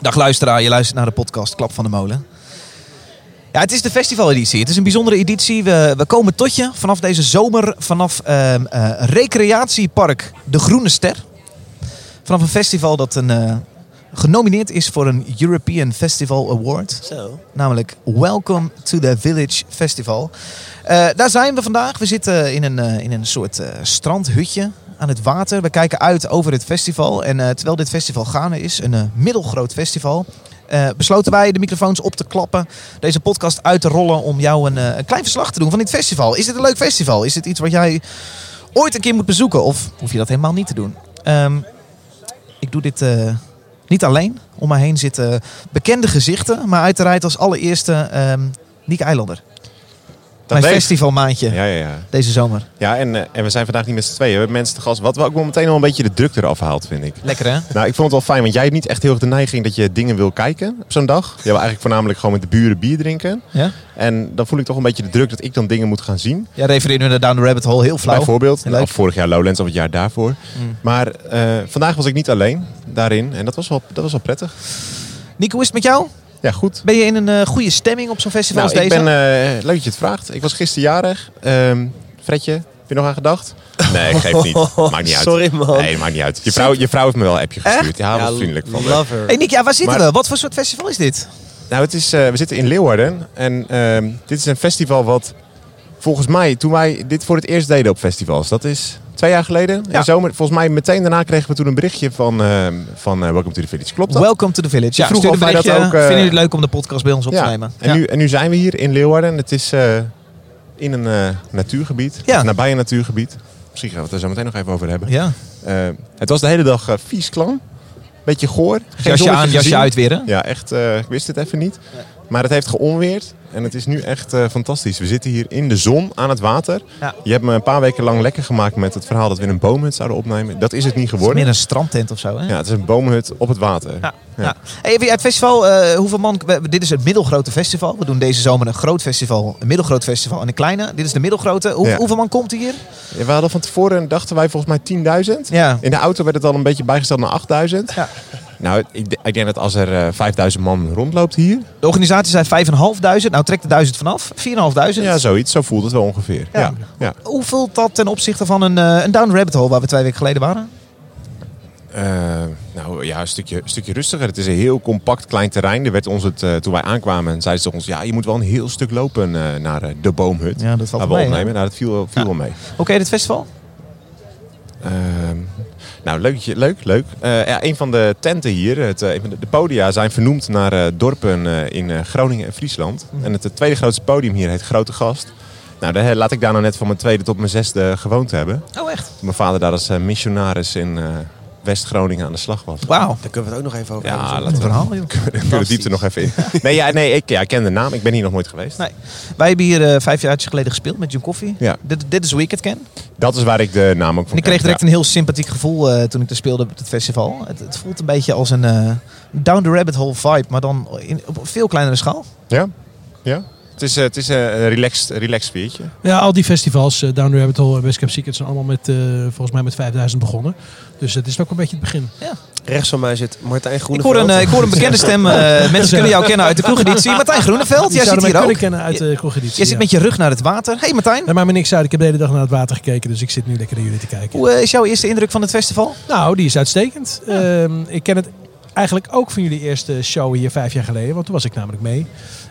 Dag luisteraar, je luistert naar de podcast Klap van de Molen. Ja, het is de festivaleditie. Het is een bijzondere editie. We, we komen tot je vanaf deze zomer vanaf ehm, eh, recreatiepark De Groene Ster. Vanaf een festival dat een, eh, genomineerd is voor een European Festival Award. Zo. Namelijk Welcome to the Village Festival. Eh, daar zijn we vandaag. We zitten in een, eh, in een soort eh, strandhutje aan het water. We kijken uit over het festival. En eh, terwijl dit festival gaande is, een eh, middelgroot festival... eh, besloten wij de microfoons op te klappen, deze podcast uit te rollen... om jou een, eh, een klein verslag te doen van dit festival. Is dit een leuk festival? Is dit iets wat jij ooit een keer moet bezoeken? Of hoef je dat helemaal niet te doen? Ehm, ik doe dit eh, niet alleen. Om mij heen zitten bekende gezichten. Maar uiteraard als allereerste ehm Niek Eilander. Dat Mijn weet- festivalmaandje Ja, ja, ja. deze zomer. ja en, eh, en we zijn vandaag niet met z'n tweeën. We hebben mensen te gast. Wat wel ook wel meteen al een beetje de druk eraf haalt, vind ik. Lekker hè? Nou, ik vond het wel fijn, want jij hebt niet echt heel erg de neiging dat je dingen wil kijken op zo'n dag. Jij wil eigenlijk voornamelijk gewoon met de buren bier drinken. Ja? En dan voel ik toch een beetje de druk dat ik dan dingen moet gaan zien. Ja, refereer nu naar Down the Rabbit Hole. Heel flauw. Bijvoorbeeld, Leuk. of vorig jaar Lowlands of het jaar daarvoor. Mm. Maar eh, vandaag was ik niet alleen daarin en dat was wel, dat was wel prettig. Nico, hoe is het met jou? Ja, goed. Ben je in een eh, goede stemming op zo'n festival Nou, als ik deze? ben, eh, leuk dat je het vraagt. Ik was gisteren jarig. Ehm Fredje, heb je nog aan gedacht? Nee, geeft niet. Maakt niet uit. Sorry, man. Nee, maakt niet uit. Je vrouw, je vrouw heeft me wel een appje gestuurd. Ja, was vriendelijk van haar. Lover. Hey Nick, ja, waar zitten eh, Maar- we? Wat voor soort festival is dit? Nou, het is, eh, we zitten in Leeuwarden. En ehm, dit is een festival wat volgens mij, toen wij dit voor het eerst deden op festivals. Dat is twee jaar geleden. Ja. In zomer, volgens mij meteen daarna kregen we toen een berichtje van, ehm, van eh, Welcome to the Village. Klopt dat? Welcome to the Village. Ja, vroeg stuur of een wij dat berichtje. ook, eh, Vinden jullie het leuk om de podcast bij ons op te Ja. nemen? En, Nu, en nu zijn we hier in Leeuwarden. En het is eh, in een eh, natuurgebied. Ja. Of nabij een natuurgebied. Misschien gaan we het er zo meteen nog even over hebben. Ja. Eh, het was de hele dag eh, vies klam. Beetje goor. Geen Jasje zonnetje aan, jasje gezien. uit weer hè? Ja, echt. eh, ik wist het even niet. Maar het heeft geonweerd. En het is nu echt eh, fantastisch. We zitten hier in de zon aan het water. Ja. Je hebt me een paar weken lang lekker gemaakt met het verhaal dat we in een boomhut zouden opnemen. Dat is het niet Het is meer geworden. een strandtent of zo hè? Ja, het is een boomhut op het water. Ja. ja. Hey, heb je het festival, eh, hoeveel man... we- dit is het middelgrote festival. We doen deze zomer een groot festival, een middelgroot festival en een kleine. Dit is de middelgrote. Hoe- Ja. Hoeveel man komt hier? Ja, We hadden van tevoren, dachten wij volgens mij 10.000. Ja. In de auto werd het al een beetje bijgesteld naar 8000. Ja. Nou, ik, d- ik denk dat als er eh, 5000 man rondloopt hier. De organisatie zei 5.500. Nou, trekt de 1000 vanaf. 4.500. Ja, zoiets. Zo voelt het wel ongeveer. Ja. Ja. ja. Hoe voelt dat ten opzichte van een, eh, een Down Rabbit Hole waar we twee weken geleden waren? Eh, nou ja, een stukje, een stukje rustiger. Het is een heel compact klein terrein. Er werd ons het, eh, toen wij aankwamen, zeiden ze ons... Ja, je moet wel een heel stuk lopen eh, naar eh, de boomhut. Ja, dat valt waar we wel mee, opnemen. Nou, dat viel, wel- viel Ja. wel mee. Oké, dit festival? Ehm, nou, leuk. leuk, leuk. Eh, ja, een van de tenten hier, het, eh, een van de- de podia, zijn vernoemd naar eh, dorpen eh, in eh, Groningen en Friesland. Mhm. En het, eh, tweede grootste podium hier heet Grote Gast. Nou, daar, eh, laat ik daar nou net van mijn tweede tot mijn zesde gewoond hebben. Oh, echt? Toen mijn vader daar als eh, missionaris in eh, West-Groningen aan de slag was. Wauw. Daar kunnen we het ook nog even over Ja, hebben. laten Een we- verhaal, joh. Ik wil de diepte nog even in. Nee, ja, nee ik ja, ik ken de naam. Ik ben hier nog nooit geweest. Nee. Wij hebben hier eh, vijf jaar geleden gespeeld met Jim Coffee. Ja. Dit, dit is Wicked Ken. Dat is waar ik de naam ook En van ik kreeg ken. direct een heel sympathiek gevoel eh, toen ik er speelde op het festival. Het, het voelt een beetje als een eh, Down the Rabbit Hole vibe, maar dan in, op veel kleinere schaal. Ja. ja. ja. Het is, eh, het is eh, een relaxed, relaxed sfeertje. Ja, al die festivals, eh, Down the Rabbit Hole en West Camp Secret zijn allemaal met, eh, volgens mij met 5000 begonnen. Dus het is ook een beetje het begin. Rechts van mij zit Martijn Ik Groeneveld. hoor, een, eh, ik hoor een bekende stem. eh, mensen kunnen jou kennen uit de kroegeditie. Martijn Groeneveld, Die jij zit zouden hier mij ook. kunnen kennen uit eh, de Cognitie. Jij zit met je rug naar het water. Hey Martijn, Nee, maar me niks uit. Ik heb de hele dag naar het water gekeken, dus ik zit nu lekker naar jullie te kijken. hoe eh, is jouw eerste indruk van het festival? Nou, die is uitstekend. Ehm, ik ken het eigenlijk ook van jullie eerste show hier vijf jaar geleden, want toen was ik namelijk mee.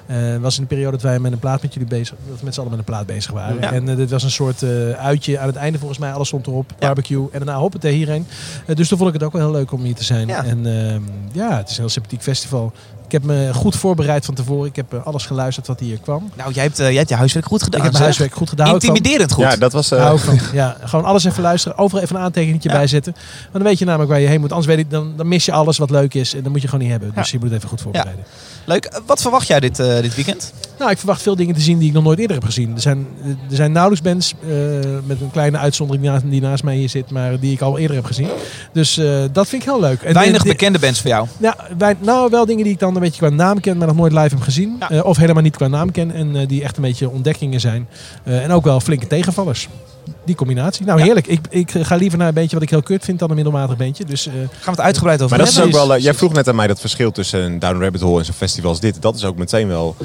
Eh, Het was in de periode dat wij met een plaat met jullie bezig, dat we met z'n allen met een plaat bezig waren. Ja. En eh, dit was een soort eh, uitje aan het einde volgens mij. Alles stond erop, barbecue en daarna hoppatee hierheen. Eh, dus toen vond ik het ook wel heel leuk om hier te zijn. Ja. En ehm, ja, het is een heel sympathiek festival. Ik heb me goed voorbereid van tevoren. Ik heb eh, alles geluisterd wat hier kwam. Nou, jij hebt, eh, jij hebt je huiswerk goed gedaan. ik heb mijn zeg. huiswerk goed gedaan. Ik kwam- Intimiderend goed. Nou, Ja, dat was... eh, Hou ik van. Ja, gewoon alles even luisteren. Overal even een aantekeningetje Ja. bij zetten. Want dan weet je namelijk waar je heen moet. Anders weet ik, dan, dan mis je alles wat leuk is. En dan moet je gewoon niet hebben. Dus je moet het even goed voorbereiden. Leuk. Eh, Wat verwacht jij dit, eh, dit weekend? Nou, ik verwacht veel dingen te zien die ik nog nooit eerder heb gezien. Er zijn, er zijn nauwelijks bands, eh, met een kleine uitzondering na- die naast mij hier zit, maar die ik al eerder heb gezien. Dus eh, dat vind ik heel leuk. En- Weinig en- bekende bands voor jou. Ja, wij, nou wel dingen die ik dan een beetje qua naam ken, maar nog nooit live heb gezien. Ja. Eh, of helemaal niet qua naam ken en eh, die echt een beetje ontdekkingen zijn. Eh, en ook wel flinke tegenvallers. die combinatie. Nou, Ja. heerlijk. Ik, ik ga liever naar een beetje wat ik heel kut vind dan een middelmatig beentje. Dus eh, Gaan we het uitgebreid over Maar dat is ook hebben. wel. eh, jij vroeg net aan mij dat verschil tussen een Down Rabbit Hole en zo'n festival als dit. Dat is ook meteen wel.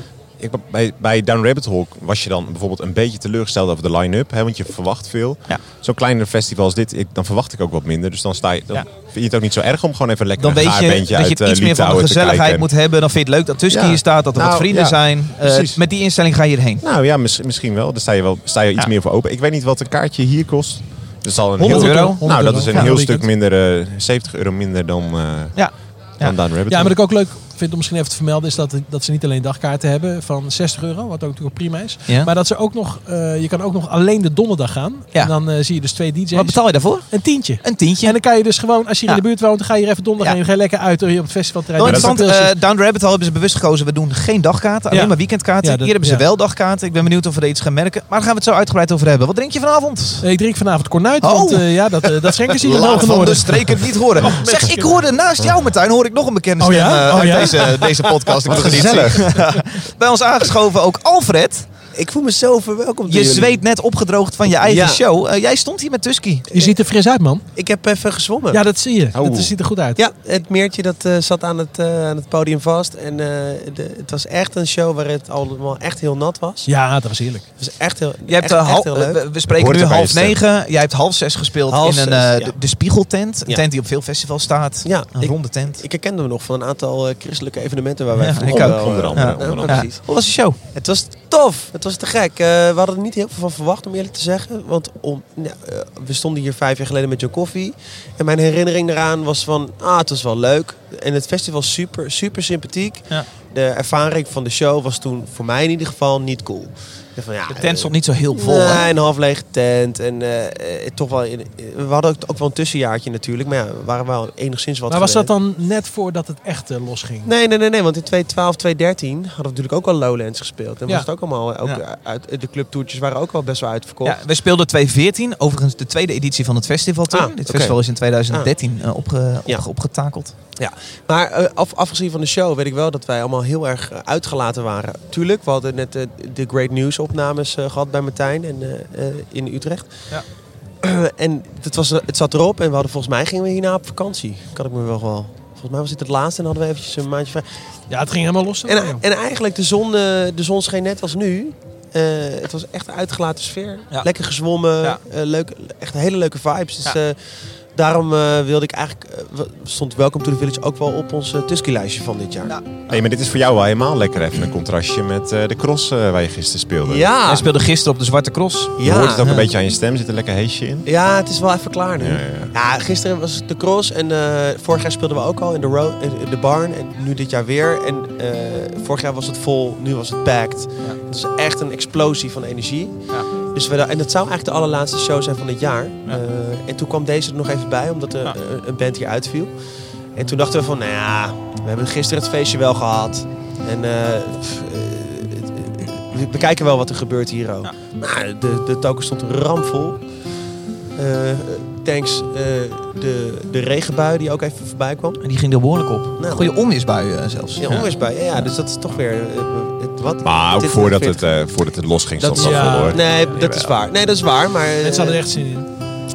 Ik, bij, bij Down Rabbit Hole was je dan bijvoorbeeld een beetje teleurgesteld over de line-up, hè, want je verwacht veel. Ja. Zo'n kleiner festival als dit, ik, dan verwacht ik ook wat minder. Dus dan, sta je, dan Ja. vind je het ook niet zo erg om gewoon even lekker Dan een weet je dat gaarbeentje je uit het eh, iets meer van de Litouwen te gezelligheid kijken. moet hebben. Dan vind je het leuk dat Tuski Ja. hier staat, dat er wat Nou, vrienden ja. zijn. Eh, Precies. met die instelling ga je erheen. Nou ja, mis- misschien wel. Daar sta je, wel, sta je iets Ja. meer voor open. Ik weet niet wat een kaartje hier kost. Dat is al een 100 heel, euro. Nou, dat is een Ja, heel een stuk minder, eh, 70 euro minder dan, eh Ja. dan Down Rabbit Ja, Hole. wat ik ook leuk vind om misschien even te vermelden is dat, dat ze niet alleen dagkaarten hebben van 60 euro, wat ook natuurlijk prima is. Ja. Maar dat ze ook nog, eh, je kan ook nog alleen de donderdag gaan. Ja. En dan eh, zie je dus twee DJ's. Wat betaal je daarvoor? Een tientje. Een tientje. En dan kan je dus gewoon, als je hier Ja. in de buurt woont, dan ga je hier even donderdag Ja. heen. Ga je lekker uit door hier op het festivalterrein. Wel Maar dat interessant, is eh, Down the Rabbit Hole hebben ze bewust gekozen. We doen geen dagkaarten, alleen Ja. maar weekendkaarten. Ja, dat- Hier hebben ze ja. wel dagkaarten. Ik ben benieuwd of we er iets gaan merken. Maar daar gaan we het zo uitgebreid over hebben. Wat drink je vanavond? Eh, ik drink vanavond kornuit, Oh. want eh, ja, dat, eh, dat schenken ze hier in Laat Hoge van de Noorden. streken het niet horen. zeg, ik hoorde naast jou, Martijn, hoor ik nog een bekende Oh stem ja? eh, Oh uit ja? deze, deze podcast. Ik Wat moet het niet gezellig. zien. eh, Bij ons aangeschoven ook Alfred. Ik voel mezelf verwelkomd. door eh, Je jullie. zweet net opgedroogd van je eigen Ja. show. Eh, jij stond hier met Tusky. Je ziet er fris uit, man. Ik heb even gezwommen. Ja, dat zie je. Oh. Dat ziet er goed uit. Ja, het meertje dat eh, zat aan het, eh, aan het podium vast. En eh, de- het was echt een show waar het allemaal echt heel nat was. Ja, dat was heerlijk. Het was echt heel, Je hebt, echt, eh, hal- echt heel leuk. we, we spreken Hoort nu erbij, half stem. negen. Jij hebt half zes gespeeld Half in een, zes, eh, ja. de, de Spiegeltent. Een Ja. tent die op veel festivals staat. Ja, Een ik, ronde tent. ik herkende me nog van een aantal eh, christelijke evenementen waar wij Ja, vroeger ik ook. wel, eh, Oh, Onder andere, ja, onder ja, andere. precies. Ja. Hoe was de show? Het was tof. Het was te gek. Eh, we hadden er niet heel veel van verwacht, om eerlijk te zeggen. Want om, nou, eh, we stonden hier vijf jaar geleden met John Coffee. En mijn herinnering daaraan was van... Ah, het was wel leuk. En het festival was super, super sympathiek. Ja. De ervaring van de show was toen voor mij in ieder geval niet cool. Ik dacht van, ja, De tent eh, stond niet zo heel vol. hè? Nee, een half lege tent. En eh, eh, toch wel, in- we hadden ook, ook wel een tussenjaartje natuurlijk. Maar ja, we waren wel enigszins wat Maar was dat gewend. dan net voordat het echt eh, losging? Nee, nee, nee, nee, want in 2012, 2013 hadden we natuurlijk ook al Lowlands gespeeld. En Ja. was het ook allemaal, eh, ook Ja. uit, de clubtoertjes waren ook wel best wel uitverkocht. Ja, we speelden 2014, overigens de tweede editie van het festival toen. Ah, Dit oké. Ah. festival is in 2013 eh, opge- op- Ja. opgetakeld. Maar eh, af, afgezien van de show weet ik wel dat wij allemaal heel erg eh, uitgelaten waren. Tuurlijk, we hadden net eh, de Great News opnames eh, gehad bij Martijn en, eh, eh, in Utrecht. Ja. en het, was, het zat erop en we hadden volgens mij gingen we hierna op vakantie. Kan ik me wel wel. Volgens mij was dit het laatste en hadden we eventjes een maandje vrij. Ja, het ging helemaal los. Oh, En, en eigenlijk de zon, eh, de zon scheen net als nu. Eh, het was echt een uitgelaten sfeer. Ja. Lekker gezwommen. Ja. eh, leuk, echt hele leuke vibes. Dus Ja. eh, daarom eh, wilde ik eigenlijk... eh, we- stond Welcome to the Village ook wel op ons eh, Tusky-lijstje van dit jaar. Ja. Hey, maar dit is voor jou wel helemaal lekker even een contrastje met eh, de cross eh, waar je gisteren speelde. Hij Ja. speelde gisteren op de Zwarte Cross. Je hoort Ja. het ook Ja. een beetje aan je stem, zit er lekker heesje in. Ja, het is wel even klaar nu. Ja, Ja, ja, ja. gisteren was het de cross en eh, vorig jaar speelden we ook al in de, road, in de barn. En nu dit jaar weer. En eh, vorig jaar was het vol, nu was het packed. Het was echt een explosie van energie. Ja. Dus we, da- en dat zou eigenlijk de allerlaatste show zijn van dit jaar. Ja. Eh, en toen kwam deze er nog even bij, omdat er Ja. eh, een band hier uitviel. En toen dachten we van, nou ja, we hebben gisteren het feestje wel gehad. En eh, pff, eh, het- we bekijken wel wat er gebeurt hier ook. Ja. Nou, de, de token stond ramvol. Eh thanks eh, de, de regenbui die ook even voorbij kwam. En die ging er behoorlijk op. Nou. Goede onweersbui eh, zelfs. Ja, onweersbui. Ja, ja, dus dat is toch weer... eh, het, wat, Maar ook dit- voordat dit- het, eh, voordat het losging Dat stond is, dat ja. vol hoor. Nee, dat is Jawel. waar. Nee, dat is waar. Maar, eh, Mensen hadden er echt zin in.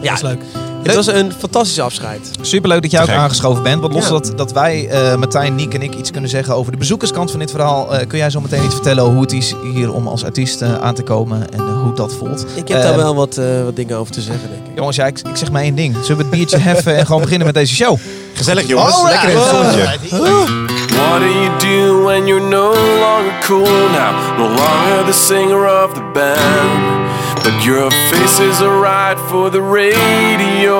ja, Dat is leuk. Het was een fantastisch afscheid. Superleuk dat jij ook Te gek. aangeschoven bent. Want los Ja. dat, dat wij, eh, Martijn, Niek en ik iets kunnen zeggen over de bezoekerskant van dit verhaal, eh, kun jij zo meteen iets vertellen hoe het is hier om als artiest eh, aan te komen en eh, hoe dat voelt. Ik heb daar Eh, wel wat, eh, wat dingen over te zeggen, denk ik. Jongens, ja, ik, ik zeg maar één ding. Zullen we het biertje heffen en gewoon beginnen met deze show? Gezellig jongens, Alright. lekker in Oh. het zonnetje. What do you do when you're no longer cool now? No longer the singer of the band. But your face is alright for the radio.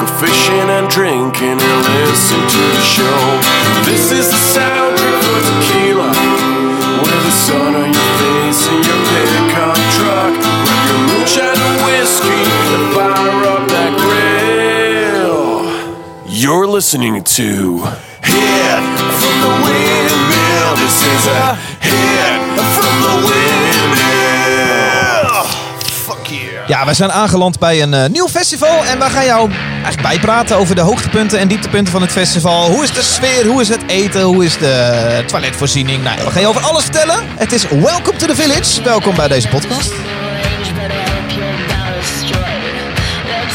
Go fishing and drinking and listen to the show. This is the soundtrack for tequila. With the sun on your face and your pickup truck. Grab your moonshine and whiskey and fire up that grill. You're listening to Hit from the Windmill. This is a hit from the windmill. Fuck yeah. Ja, we zijn aangeland bij een eh, nieuw festival. En wij gaan jou eigenlijk bijpraten over de hoogtepunten en dieptepunten van het festival. Hoe is de sfeer? Hoe is het eten? Hoe is de toiletvoorziening? Nou, we gaan je over alles vertellen. Het is Welcome to the Village. Welkom bij deze podcast. Range, but I hope you're not a straw.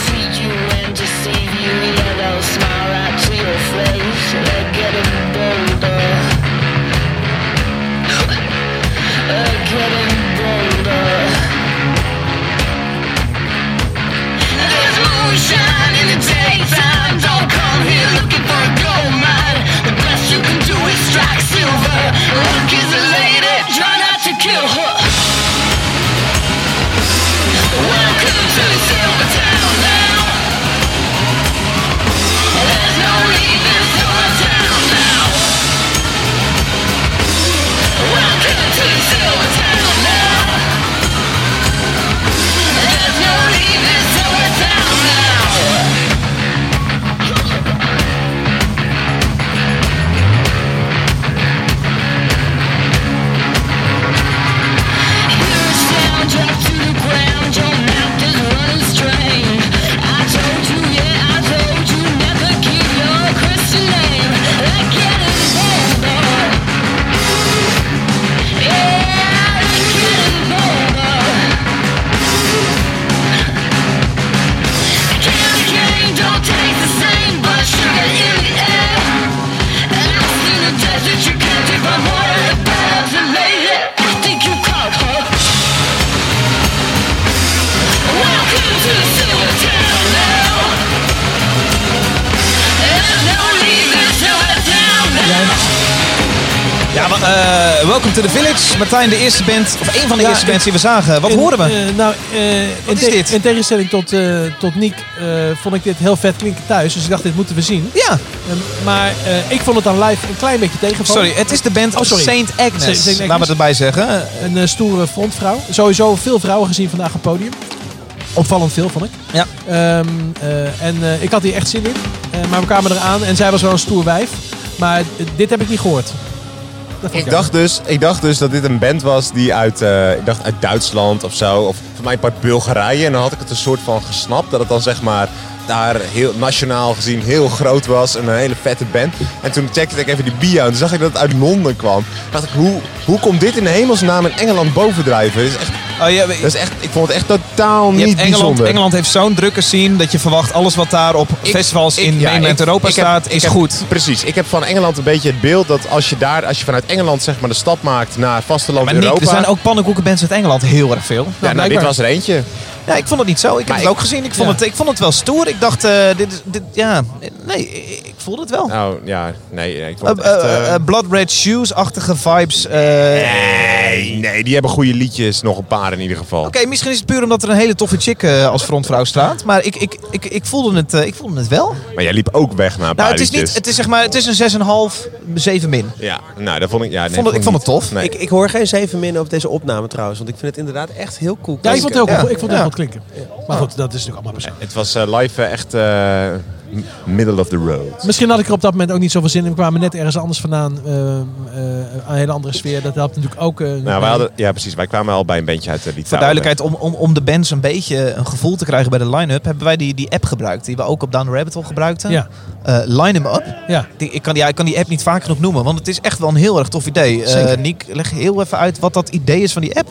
eh, welcome to the village. Martijn, de eerste band, of een van de Ja, eerste ik- bands die we zagen. Wat In- horen we? eh, nou, eh, in, is dit? in tegenstelling tot, eh, tot Nick eh, vond ik dit heel vet klinken thuis. Dus ik dacht, dit moeten we zien. ja, Eh, maar eh, ik vond het dan live een klein beetje tegenvallen. sorry. Het is de band Oh, sorry. Saint Saint- Agnes. Saint Agnes. Laten we erbij zeggen. Een eh, stoere frontvrouw. Sowieso veel vrouwen gezien vandaag op het podium. Opvallend veel, vond ik. Ja. Ehm, eh, en eh, ik had hier echt zin in. Eh, maar we kwamen eraan en zij was wel een stoer wijf. Maar eh, dit heb ik niet gehoord. Dat Ik vond jammer. dacht, dus, ik dacht dus dat dit een band was die uit, eh, ik dacht uit Duitsland of zo, of voor mij een part Bulgarije. En dan had ik het een soort van gesnapt dat het dan zeg maar daar heel nationaal gezien heel groot was en een hele vette band. En toen checkte ik even die bio en toen zag ik dat het uit Londen kwam. Toen dacht ik, hoe, hoe komt dit in de hemelsnaam in Engeland bovendrijven? Dit is echt, Oh, ja, dat is echt, ik vond het echt totaal Je niet hebt Engeland, bijzonder. Engeland heeft zo'n drukke scene dat je verwacht alles wat daar op Ik- festivals ik- in ja, mainland ik- Europa ik heb- staat, ik is heb- goed. Precies. Ik heb van Engeland een beetje het beeld dat als je daar, als je vanuit Engeland zeg maar de stap maakt naar vasteland Maar Nick, Europa. er zijn ook pannenkoekenbands uit Engeland heel erg veel. ja, nou, dit blijkbaar. was er eentje. Ja, ik vond het niet zo. Ik heb Maar het ik- ook gezien. Ik vond, ja. het, ik vond het wel stoer. Ik dacht, eh, dit, is- dit, ja, nee, ik voelde het wel. Nou ja, nee, nee, ik Eh, vond het echt, eh, eh, eh, Blood Red Shoes-achtige vibes. eh. nee, nee, die hebben goede liedjes, nog een paar in ieder geval. Oké, misschien is het puur omdat er een hele toffe chick eh, als frontvrouw staat. Maar ik, ik, ik, ik, voelde, het, eh, ik voelde het wel. Maar jij liep ook weg naar een paar Nou, het is, niet, liedjes. het is, zeg maar, het is een 6,5, 7 min. Ja, nou, dat vond ik, ja, nee, vond het- ik vond het niet. tof. Nee. Ik, ik hoor geen zeven min op deze opname trouwens, want ik vind het inderdaad echt heel cool. Ja, ik vond het heel Ja. goed. Ik vond het heel Ja. goed klinken. Maar goed, dat is natuurlijk allemaal persoonlijk. het was eh, live eh, echt eh, m- middle of the road. Misschien had ik er op dat moment ook niet zoveel zin in. We kwamen net ergens anders vandaan. ehm, eh, een hele andere sfeer. Dat helpt natuurlijk ook. eh, Nou, wij hadden, ja, precies. Wij kwamen al bij een bandje uit eh, Litouwen. Voor duidelijkheid, om, om, om de bands een beetje een gevoel te krijgen bij de line-up, hebben wij die, die app gebruikt. Die we ook op Down the Rabbit Hole gebruikten. Ja, Eh, line 'em up. ja. Die, ik, kan die, ja, ik kan die app niet vaak genoeg noemen, want het is echt wel een heel erg tof idee. Eh, Zeker. Niek, leg heel even uit wat dat idee is van die app.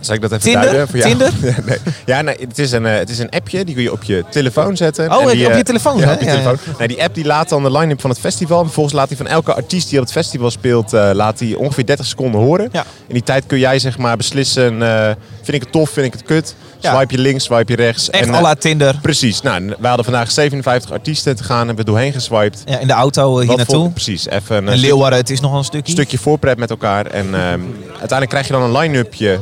Zal ik dat even Tinder? duiden voor jou? Tinder? Ja, nee. Ja, nee, het, is een, eh, het is een appje, die kun je op je telefoon zetten. Oh, heb je die, op eh, je telefoon, Ja, hè? op je Ja, ja. telefoon. Nee, die app die laat dan de line-up van het festival. En vervolgens laat hij van elke artiest die op het festival speelt, eh, laat hij ongeveer 30 seconden horen. Ja. In die tijd kun jij zeg maar beslissen, eh, vind ik het tof, vind ik het kut? Ja. Swipe je links, swipe je rechts. Echt En, à eh, la Tinder. Precies. Nou, we hadden vandaag 57 artiesten te gaan, hebben we doorheen geswiped. Ja, in de auto eh, hier Wat vond- naartoe. Precies. Even een, En stuk- Leeuwarden, het is nog een stukje. stukje voorpret met elkaar. En ehm, uiteindelijk krijg je dan een line-upje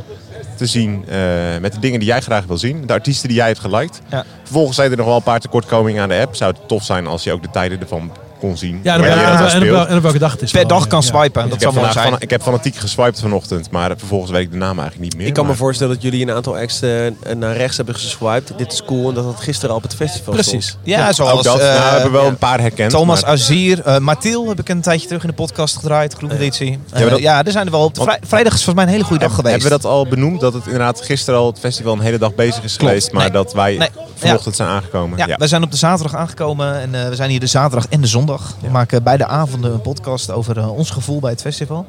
te zien eh, met de dingen die jij graag wil zien. De artiesten die jij hebt geliked. Ja. Vervolgens zijn er nog wel een paar tekortkomingen aan de app. Zou het tof zijn als je ook de tijden ervan kon zien. ja en, op, wanneer en, het op- en op- speelt. en op welke dag het is. Per vooral, dag ja. kan swipen, Ja. dat Oh, ik, heb zou mooi vandaag zijn. van- ik heb fanatiek geswiped vanochtend, maar vervolgens weet ik de naam eigenlijk niet meer. Ik kan me maar- voorstellen dat jullie een aantal acts eh, naar rechts hebben geswiped. Dit is cool, en dat dat gisteren al op het festival Precies. stond. Ja, zoals Ook dat. eh, nou, we hebben wel ja. een paar herkend. Thomas maar- Azier, eh Mathilde heb ik een tijdje terug in de podcast gedraaid, Groeneditie. Ja, maar dat- ja, er zijn er wel op. de Want- vrij- vrijdag is volgens mij een hele goede dag geweest. Hebben we dat al benoemd? Dat het inderdaad gisteren al het festival een hele dag bezig is geweest. Maar Nee. dat wij Nee. vanochtend zijn aangekomen. Ja, Ja. wij zijn op de zaterdag aangekomen en eh, we zijn hier de zaterdag en de zondag. We maken beide avonden een podcast over eh, ons gevoel bij het festival.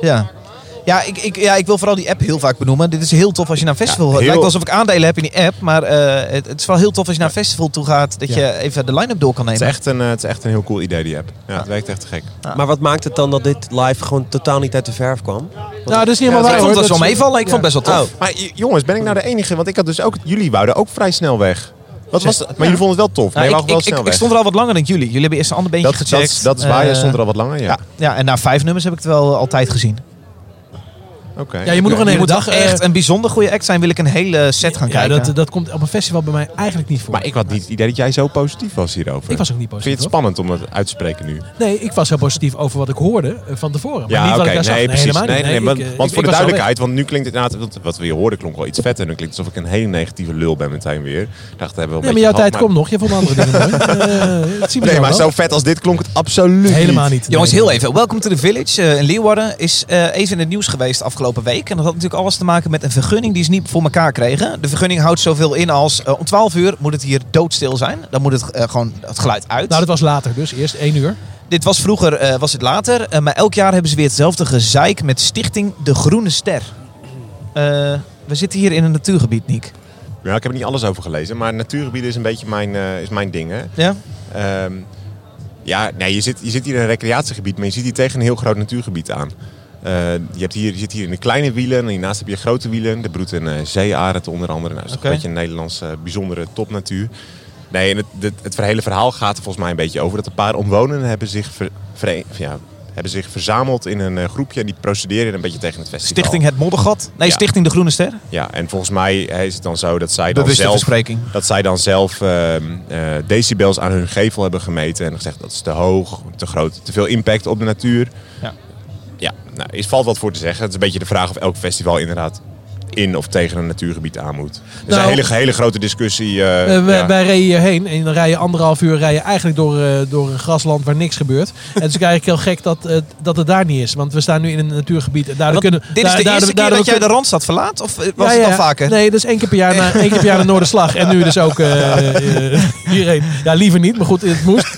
Ja. Ja ik, ik, ja, ik wil vooral die app heel vaak benoemen. Dit is heel tof als je naar een festival... Het heel- lijkt wel alsof ik aandelen heb in die app, maar eh, het, het is wel heel tof als je naar een festival toe gaat... dat je even de line-up door kan Het, nemen. is echt een, eh, het is echt een heel cool idee die app. Ja, het werkt echt te gek. Maar wat maakt het dan dat dit live gewoon totaal niet uit de verf kwam? Nou, dat is niet ik helemaal vond waar. het wel hoor. zo Dat is- meevallen. Ik vond het best wel tof. Maar j- jongens, ben ik nou de enige? Want ik had dus ook... Jullie wouden ook vrij snel weg. Wat was dat? Maar jullie vonden het wel tof. Nee, Nou, ik, we wouden wel ik, snel ik, weg. ik stond er al wat langer dan jullie. Jullie hebben eerst een ander dat, beentje dat, gecheckt. is- dat is waar, jij Eh, stond er al wat langer, ja. ja. ja, en na vijf nummers heb ik het wel eh, altijd gezien. Oké. Ja, je moet nog een Je hele moet dag. toch echt eh, een bijzonder goede act zijn, wil ik een hele set gaan Ja, kijken. dat, dat komt op een festival bij mij eigenlijk niet voor. Maar ik had niet het idee dat jij zo positief was hierover. Ik was ook niet Vind je positief. het spannend om het uit te spreken nu? hoor. Nee, ik was heel positief over wat ik hoorde eh, van tevoren. Maar niet wat ik daar zag. nee, precies. helemaal Nee, niet. nee, ik, want, eh, want ik- voor ik de was wel weg. duidelijkheid, want nu klinkt het inderdaad, want wat we hier hoorden klonk wel iets vetter. Nu klinkt het alsof ik een hele negatieve lul ben meteen weer. Ik dacht, hebben we wel een Nee, maar beetje gehad, jouw tijd komt nog. Je vond andere dingen mooi. Eh, dat zien we Oh, Nee, zo maar wel. zo e- vet als dit klonk het absoluut Helemaal niet. Jongens, Nee. heel even. Welcome to the Village eh, in Leeuwarden is eh, even in het nieuws geweest afgelopen week. En dat had natuurlijk alles te maken met een vergunning die ze niet voor elkaar kregen. De vergunning houdt zoveel in als eh, om 12 uur moet het hier doodstil zijn. Dan moet het eh, gewoon het geluid uit. Nou, dat was later dus. Eerst één uur. Dit was vroeger, eh, was het later. Eh, maar elk jaar hebben ze weer hetzelfde gezeik met Stichting De Groene Ster. Eh, we zitten hier in een natuurgebied, Niek. Ja, ik heb er niet alles over gelezen, maar natuurgebieden is een beetje mijn, eh, is mijn ding. Hè. Ja? Ehm, ja, nee, je, zit, je zit hier in een recreatiegebied, maar je zit hier tegen een heel groot natuurgebied aan. Eh, je, hebt hier, je zit hier in de kleine wielen en hiernaast heb je grote wielen. Er broedt een eh, zeearend onder andere. Nou, dat is toch Oké. een beetje een Nederlandse bijzondere topnatuur. Nee, en het, het, het hele verhaal gaat er volgens mij een beetje over dat een paar omwonenden hebben zich ver, vere- ja, hebben zich verzameld in een eh, groepje en die procederen een beetje tegen het festival. Stichting Nou. Het Moddergat. Nee, Ja. Stichting De Groene Ster. Ja, en volgens mij eh, is het dan zo dat zij Dat dan is de zelf, verspreking. dat zij dan zelf ehm, eh, decibels aan hun gevel hebben gemeten en gezegd dat is te hoog, te groot, te veel impact op de natuur. Ja. Ja, nou, er valt wat voor te zeggen. Het is een beetje de vraag of elk festival inderdaad in of tegen een natuurgebied aan moet. Er is Nou, een hele, hele grote discussie. eh, Eh, wij, ja. wij reden hierheen en dan rij je anderhalf uur rij je eigenlijk door, eh, door een grasland waar niks gebeurt. en het is eigenlijk heel gek dat, eh, dat het daar niet is. Want we staan nu in een natuurgebied. En Want daardoor kunnen, dit is daar- de daardoor- eerste keer daardoor dat jij de kun- Randstad verlaat? Of eh, was Ja, het al ja. vaker? Nee, dat is één keer per jaar naar, één keer per jaar naar Noorderslag. En nu dus ook eh, eh, hierheen. Ja, liever niet, maar goed, het moest.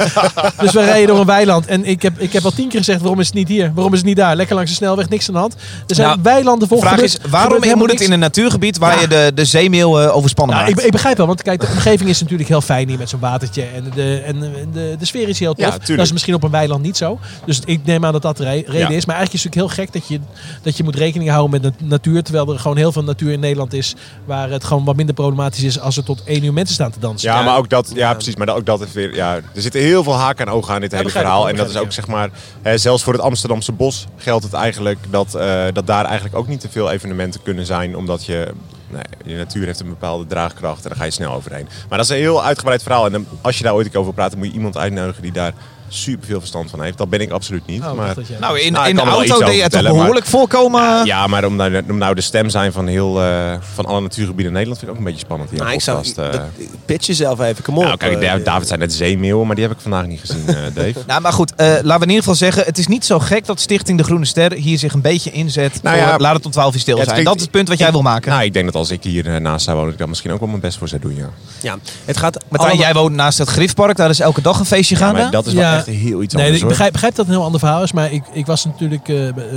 Dus we rijden door een weiland. En ik heb, ik heb al tien keer gezegd, waarom is het niet hier? Waarom is het niet daar? Lekker langs de snelweg, niks aan de hand. Er zijn Nou, weilanden vol. De vraag gebeurt- is, gebeurt waarom helemaal moet het niks. in een natuurgebied waar je de, de zeemeel eh, overspannen Ja, maakt? ik, ik begrijp wel, want kijk, de omgeving is natuurlijk heel fijn hier met zo'n watertje. En de, en de, de sfeer is hier heel Ja, tof. tuurlijk. dat is misschien op een weiland niet zo. Dus ik neem aan dat dat de re- reden Ja. is. Maar eigenlijk is het natuurlijk heel gek dat je, dat je moet rekening houden met de natuur. Terwijl er gewoon heel veel natuur in Nederland is waar het gewoon wat minder problematisch is als er tot één uur mensen staan te dansen. Ja, maar ook dat, ja, precies. Maar ook dat is weer, ja, er zitten heel veel haken en ogen aan dit hele begrijp ik verhaal. wel, En dat is ook, begrijp zeg maar, hè, zelfs voor het Amsterdamse bos geldt het eigenlijk dat, eh, dat daar eigenlijk ook niet te veel evenementen kunnen zijn, omdat je, nee, je natuur heeft een bepaalde draagkracht en daar ga je snel overheen. Maar dat is een heel uitgebreid verhaal. En dan, als je daar ooit een keer over praat, dan moet je iemand uitnodigen die daar superveel verstand van heeft. Dat ben ik absoluut niet. Oh, ik maar, dacht dat jij- nou, in, Nou, ik in de kan er wel iets auto over deed je toch vertellen, maar- behoorlijk voorkomen. ja, maar om nou, om nou de stem zijn van, heel, eh, van alle natuurgebieden in Nederland vind ik ook een beetje spannend. Hier Nou, ik zou... podcast, eh. dat- pitch jezelf even, kom op. Nou, kijk, Eh, David, David zei net zeemeeuwen, maar die heb ik vandaag niet gezien, eh, Dave. Nou, maar goed, eh, laten we in ieder geval zeggen, het is niet zo gek dat Stichting De Groene Ster hier zich een beetje inzet Nou voor ja, laat het om 12 uur stil ja, het zijn. klinkt- dat is het punt wat jij wil maken. Nou, ik denk dat als ik hier eh, naast zou wonen, ik dan misschien ook wel mijn best voor zou doen, ja. Ah, ja, het gaat Martijn, allemaal- jij woont naast het Grifpark, daar is elke dag een feestje gaande. maar dat is wel Ja. echt heel iets Nee, anders, ik hoor. begrijp, begrijp dat het een heel ander verhaal is. Maar ik, ik was natuurlijk eh,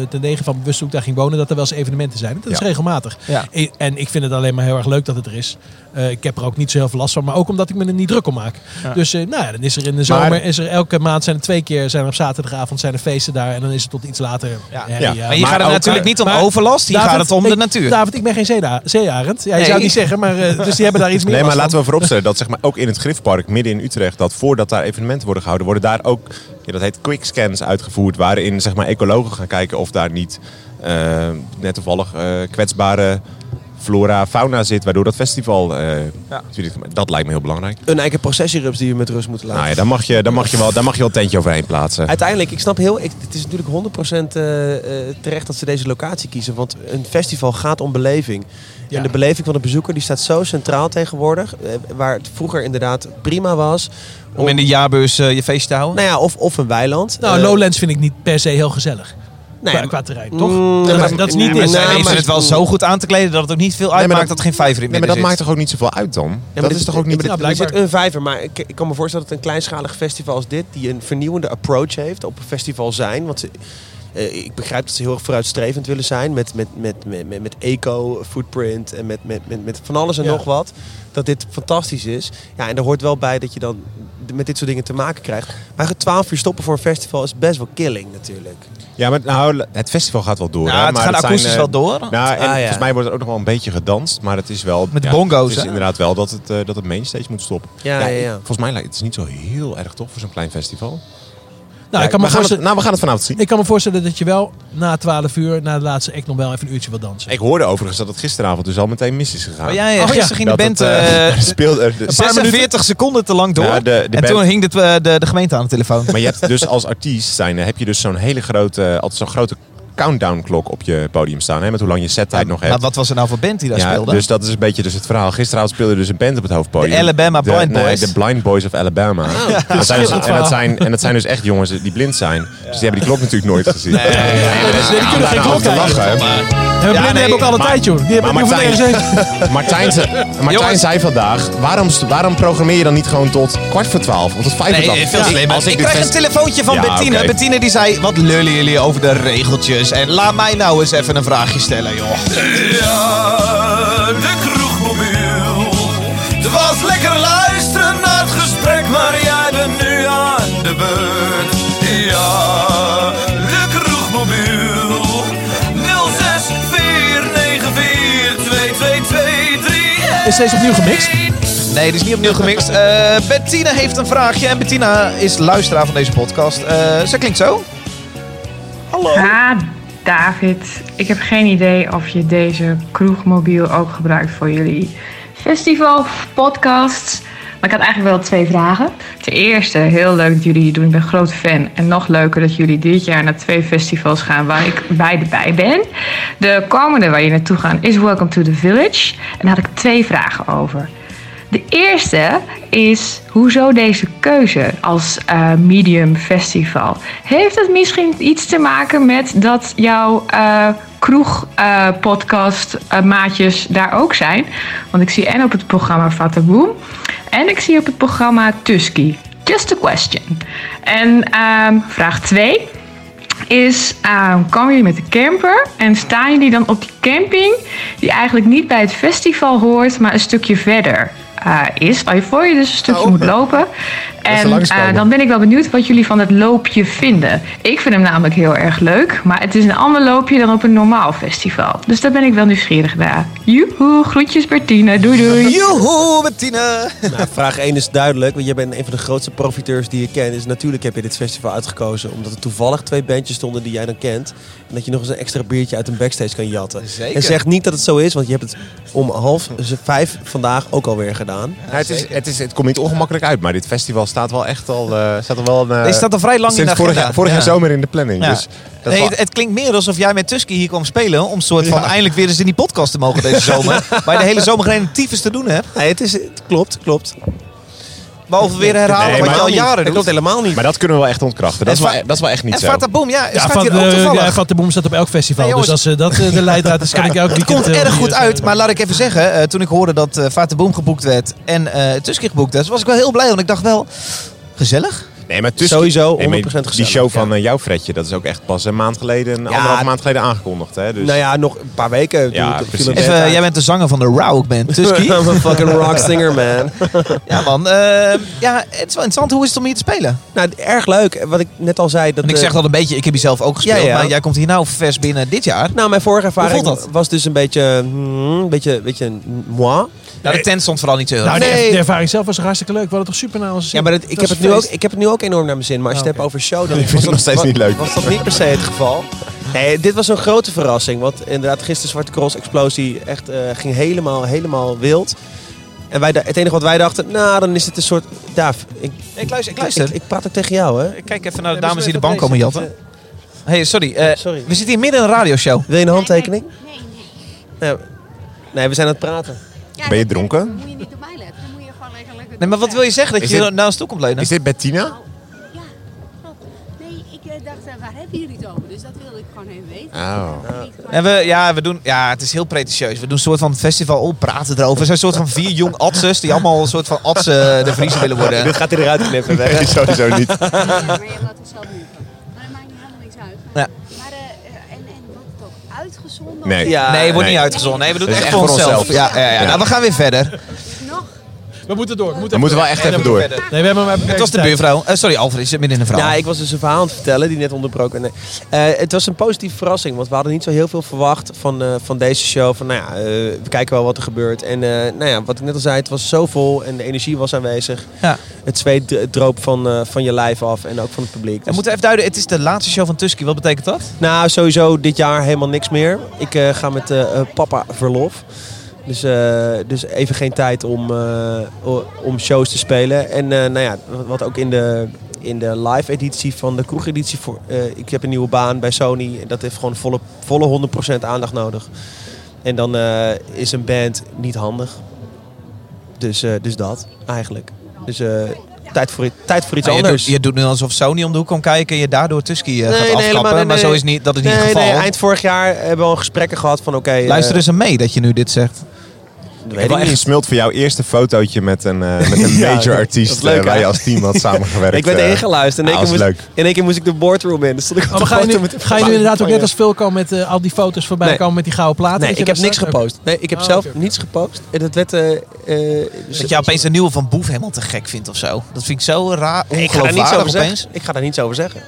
ten degen van bewust toen ik daar ging wonen dat er wel eens evenementen zijn. Dat is Ja. regelmatig. Ja. I- En ik vind het alleen maar heel erg leuk dat het er is. Eh, ik heb er ook niet zo heel veel last van. Maar ook omdat ik me er niet druk om maak. Dus eh, nou ja, dan is er in de zomer, Maar- is er elke maand zijn er twee keer, zijn er op zaterdagavond zijn er feesten daar. En dan is het tot iets later. Ja. herrie, Ja. eh, maar hier maar gaat het ook- natuurlijk niet om maar- overlast, hier gaat David, het om de ik- natuur. David, ik ben geen zeeda- zeearend. Ja, je Nee. zou het niet zeggen, maar eh, dus die hebben daar iets meer Nee, maar last laten van. we vooropstellen dat zeg maar, ook in het Griffpark, midden in Utrecht, dat voordat daar evenementen worden gehouden, worden daar ook, ja, dat heet quickscans uitgevoerd, waarin zeg maar, ecologen gaan kijken of daar niet eh, net toevallig eh, kwetsbare flora, fauna zit, waardoor dat festival... eh, Dat lijkt me heel belangrijk. een eigen processierups die je met rust moet laten. Nou ja, daar mag je, daar mag je, wel, daar mag je wel een tentje overheen plaatsen. Uiteindelijk, ik snap heel, ik, het is natuurlijk 100% eh, eh, terecht dat ze deze locatie kiezen. Want een festival gaat om beleving. Ja. En de beleving van de bezoeker die staat zo centraal tegenwoordig. eh, waar het vroeger inderdaad prima was. om in de jaarbeurs eh, je feestje te houden. Nou ja, of, of een weiland. Nou, Eh, Lowlands vind ik niet per se heel gezellig. nee, qua, maar- qua terrein, toch? Mm, dat, maar- dat is niet nee, dit. maar- Zijn nou, is het wel zo goed aan te kleden dat het ook niet veel uitmaakt dat, dat- er geen vijver in Nee, het maar midden dat maakt zit. toch ook niet zoveel uit dan? Ja, maar dat is dit- toch ook ja, niet... maar Ja, dit- Er zit blijkbaar. een vijver, maar ik, ik kan me voorstellen dat een kleinschalig festival als dit... die een vernieuwende approach heeft op een festival zijn... Want ze- eh, ik begrijp dat ze heel erg vooruitstrevend willen zijn... met, met, met, met, met, met eco-footprint en met, met, met, met van alles en Ja. nog wat... dat dit fantastisch is. Ja, en er hoort wel bij dat je dan d- met dit soort dingen te maken krijgt. Maar 12 uur stoppen voor een festival is best wel killing natuurlijk. Ja, maar nou, het festival gaat wel door. Ja, hè, het maar gaat zijn, akoestisch eh, wel door. Nou, en Ah, ja. volgens mij wordt er ook nog wel een beetje gedanst, maar het is wel... Met ja, bongo's, Het is hè? inderdaad wel dat het, eh, dat het mainstage moet stoppen. Ja, ja, ja. Volgens mij lijkt het is niet zo heel erg toch voor zo'n klein festival. Nou, ik Ja, kan me we gaan het, voorstellen- nou, we gaan het vanavond zien. Ik kan me voorstellen dat je wel na 12 uur, na de laatste act, nog wel even een uurtje wil dansen. Ik hoorde overigens dat het gisteravond dus al meteen mis is gegaan. Maar jij eh, Oh, ja. gisteren ging de Dat band het, eh, eh, speelde... er dus- 46 seconden te lang door. Ja, de- de en toen band- hing de, eh, de, de gemeente aan de telefoon. Maar je hebt dus als artiest zijn, heb je dus zo'n hele grote, altijd zo'n grote countdown klok op je podium staan. Hè, met hoe lang je settijd nog hebt. Maar wat was er nou voor band die daar speelde? Dus dat is een beetje dus het verhaal. Gisteravond speelde dus een band op het hoofdpodium. De Alabama De- Blind nee, Boys. de Blind Boys of Alabama. dat zijn dus, en, dat zijn, en dat zijn dus echt jongens die blind zijn. Dus die hebben die klok natuurlijk nooit gezien. Nee, die kunnen geen klok lachen. En nee, blinden hebben ook alle maar- tijd, joh. Die hebben maar die hoeven Martijn- nergens heen. Martijn, ze- Martijn Jongens. zei vandaag, waarom, st- waarom programmeer je dan niet gewoon tot kwart voor twaalf? Of tot vijf voor twaalf? Ja, als Ik dit kreeg een fest- telefoontje van Ja, Bettine. oké. Bettine die zei, wat lullen jullie over de regeltjes? En laat mij nou eens even een vraagje stellen, joh. Ja, de kroegmobiel. Het was lekker luisteren naar het gesprek, maar jij bent nu aan de beurt. Ja, de kroegmobiel. 06 494 2223. Is deze opnieuw gemixt? Nee, dit is niet opnieuw gemixt. Eh Bettina heeft een vraagje. En Bettina is luisteraar van deze podcast. Eh, ze klinkt zo. Hallo. Ah, David, ik heb geen idee of je deze kroegmobiel ook gebruikt voor jullie festival podcasts. Maar ik had eigenlijk wel twee vragen. Ten eerste, heel leuk dat jullie hier doen. Ik ben groot fan. En nog leuker dat jullie dit jaar naar twee festivals gaan waar ik beide bij ben. De komende waar je naartoe gaat is Welcome to the Village. En daar had ik twee vragen over. De eerste is hoezo deze keuze als eh, medium festival? Heeft het misschien iets te maken met dat jouw eh, kroegpodcastmaatjes eh, daar ook zijn? Want ik zie en op het programma Fataboom en ik zie op het programma Tusky. Just a question. En ehm, vraag 2 is, ehm, komen jullie met de camper en staan jullie dan op die camping die eigenlijk niet bij het festival hoort, maar een stukje verder eh, is. Waarvoor je dus een stukje moet lopen. En langskomen. eh, dan ben ik wel benieuwd wat jullie van het loopje vinden. Ik vind hem namelijk heel erg leuk, maar het is een ander loopje dan op een normaal festival. Dus daar ben ik wel nieuwsgierig naar. Joehoe, groetjes Bertine, doei doei. Joehoe, Martine! Nou, vraag 1 is duidelijk, want jij bent een van de grootste profiteurs die je kent. Dus natuurlijk heb je dit festival uitgekozen omdat er toevallig twee bandjes stonden die jij dan kent. En dat je nog eens een extra biertje uit een backstage kan jatten. Zeker. En zeg niet dat het zo is, want je hebt het om half z- vijf vandaag ook alweer gedaan. Nou, het, is, het, is, het komt niet ongemakkelijk uit, maar dit festival staat wel echt al... eh, staat al wel een, eh, Deze staat al vrij lang in sinds de vorig agenda. jaar, vorig jaar Ja. zomer in de planning. Ja. Dus dat nee, wa- het, het klinkt meer alsof jij met Tusky hier kwam spelen. Om soort van eindelijk weer eens in die podcast te mogen deze zomer. Waar je de hele zomer geen tyfus te doen hebt. Nee, het, is, het klopt, klopt. Behalve weer herhalen Nee, wat je maar- al jaren Dat doet. klopt helemaal niet. maar dat kunnen we wel echt ontkrachten. Dat, is En wel, e- va- dat is wel echt niet En zo. eh, Fata Boom, ja, Ja, staat Vat hier ook toevallig. ja, Vat de Boom staat op elk festival. Nee, dus jongens. als eh, dat eh, de leidraad is, kan ik elk Het weekend... komt eh, erg hier goed zijn. uit, maar laat ik even zeggen, eh, toen ik hoorde dat eh Fata Boom geboekt werd en eh Tusky geboekt werd, was ik wel heel blij, want ik dacht wel, gezellig. Nee, maar tussen, Sowieso Nee, maar 100% Die gezellig, show van ja. eh, jouw Fredje, dat is ook echt pas een maand geleden, een anderhalf maand geleden aangekondigd. Hè? Dus, Nou ja, nog een paar weken. Toen Ja, viel precies. het Even, net eh, jij uit. bent de zanger van de Rauw, ik ben Tusky. I'm a fucking rock singer, man. ja man, eh, ja, het is wel interessant, hoe is het om hier te spelen? Nou, erg leuk. Wat ik net al zei. Dat Want ik eh, zeg dat een beetje, ik heb hier zelf ook gespeeld, Ja, ja. maar jij komt hier nou vers binnen dit jaar. Nou, mijn vorige ervaring Hoe voelt dat? was dus een beetje... Hmm, beetje, beetje moi. Nou, de tent stond vooral niet zo heel Nou, erg. de- Nee. de ervaring zelf was toch hartstikke leuk. We hadden toch super naar onze zin. Ja, maar dat, Oh, ik, heb was het een nu ook, feest. ik heb het nu ook enorm naar mijn zin. Maar als je Ah, het hebt over show, dan Ik vind het was nog steeds wa- niet leuk. Was dat niet per se het geval? Nee, dit was een grote verrassing. Want inderdaad, gisteren Zwarte Cross Explosie echt, eh, ging helemaal, helemaal wild. En wij, da- het enige wat wij dachten, nou, dan is het een soort... Daaf, ik, Ik luister, ik ik, luister. ik praat ook tegen jou, hè? Ik kijk even naar de dames die de bank komen jatten. hey, eh, sorry, eh, Sorry. we zitten hier midden in een radioshow. Wil je een handtekening? Nee, nee. Nee, nee we zijn aan het praten. Ja, Ben je dat- dronken? dat Moet je niet op mij letten. Dan moet je gewoon lekker lekker. Nee, maar wat wil je zeggen, dat Is je dit- naar ons toe komt leunen? Is dit Bettina? Nou, ja, klopt. Nee, ik eh, dacht, eh, waar hebben jullie het over? Dus dat wilde ik gewoon even weten. Oh. Niet gewoon- En we, ja, we doen, ja, het is heel pretentieus. We doen een soort van festival op, praten erover. We zijn een soort van vier jong atsers die allemaal een soort van atsen eh, de vriezen willen worden. Dit gaat hij eruit knippen. hè? Nee, sowieso niet. Ja, maar je laat het zelf niet van. Maar dat maakt niet helemaal niks uit. Ja. Maar, eh, eh, en, en wordt het ook uitgezonden? Nee. Of- Ja. Nee, wordt Nee. niet uitgezonden. Nee, we doen het Dat echt, is voor echt voor onszelf. onszelf. Ja, ja, ja. Nou, we gaan weer verder. Nog? We moeten door. We We moeten, moeten wel echt even door. Verder. Nee, we hebben maar beperkt Het was de tijd. buurvrouw. Eh, sorry, Alfred, is het midden in een verhaal. Ja, ik was dus een verhaal aan het vertellen die net onderbroken. Nee. Eh, het was een positieve verrassing, want we hadden niet zo heel veel verwacht van, eh, van deze show. Van, nou ja, eh, we kijken wel wat er gebeurt. En eh, nou ja, wat ik net al zei, het was zo vol en de energie was aanwezig. Ja. Het zweet dr- droop van, eh, van je lijf af en ook van het publiek. We Dus- moeten even duiden, het is de laatste show van Tusky. Wat betekent dat? nou, sowieso dit jaar helemaal niks meer. Ik eh, ga met eh, eh, papa verlof. Dus, eh, dus even geen tijd om, eh, o- om shows te spelen. En eh, nou ja, wat- wat ook in de, in de live editie van de kroegeditie... Voor, eh, ik heb een nieuwe baan bij Sony. En Dat heeft gewoon volle, volle 100% aandacht nodig. En dan eh, is een band niet handig. Dus, eh, dus dat, eigenlijk. Dus eh, tijd, voor, i- tijd voor iets Nou, je, anders. doet, je doet nu alsof Sony om de hoek komt kijken en je daardoor Tusky eh, Nee, gaat nee, afkappen. helemaal niet, Maar nee. zo is niet, dat is niet nee, het geval. nee, eind vorig jaar hebben we al gesprekken gehad van oké... eh, Luister eens aan mee dat je nu dit zegt. Ik weet heb ik wel echt niet. gesmuld voor jouw eerste fotootje met een, eh, met een Ja, major dat- dat artiest is leuk, eh, waar je hè? als team had samengewerkt. Ik werd eh. ingeluisterd. In één, ah, keer was moest, leuk. in één keer moest ik de boardroom in. Dus stond ik op Oh, de maar ga je foto nu, met- ga je nu inderdaad ook Oh, ja. net als Phil komen met eh, al die foto's voorbij Nee. komen met die gouden platen? Nee, Weet je ik heb dat niks straks? gepost. Nee, ik heb Oh, zelf oké, oké. niets gepost. En dat werd... eh, eh, Dat je opeens een nieuwe van Boef helemaal te gek vindt of zo. Dat vind ik zo raar, ik ga daar niets ongeloofwaardig over zeggen. opeens. Ik ga daar niets over zeggen.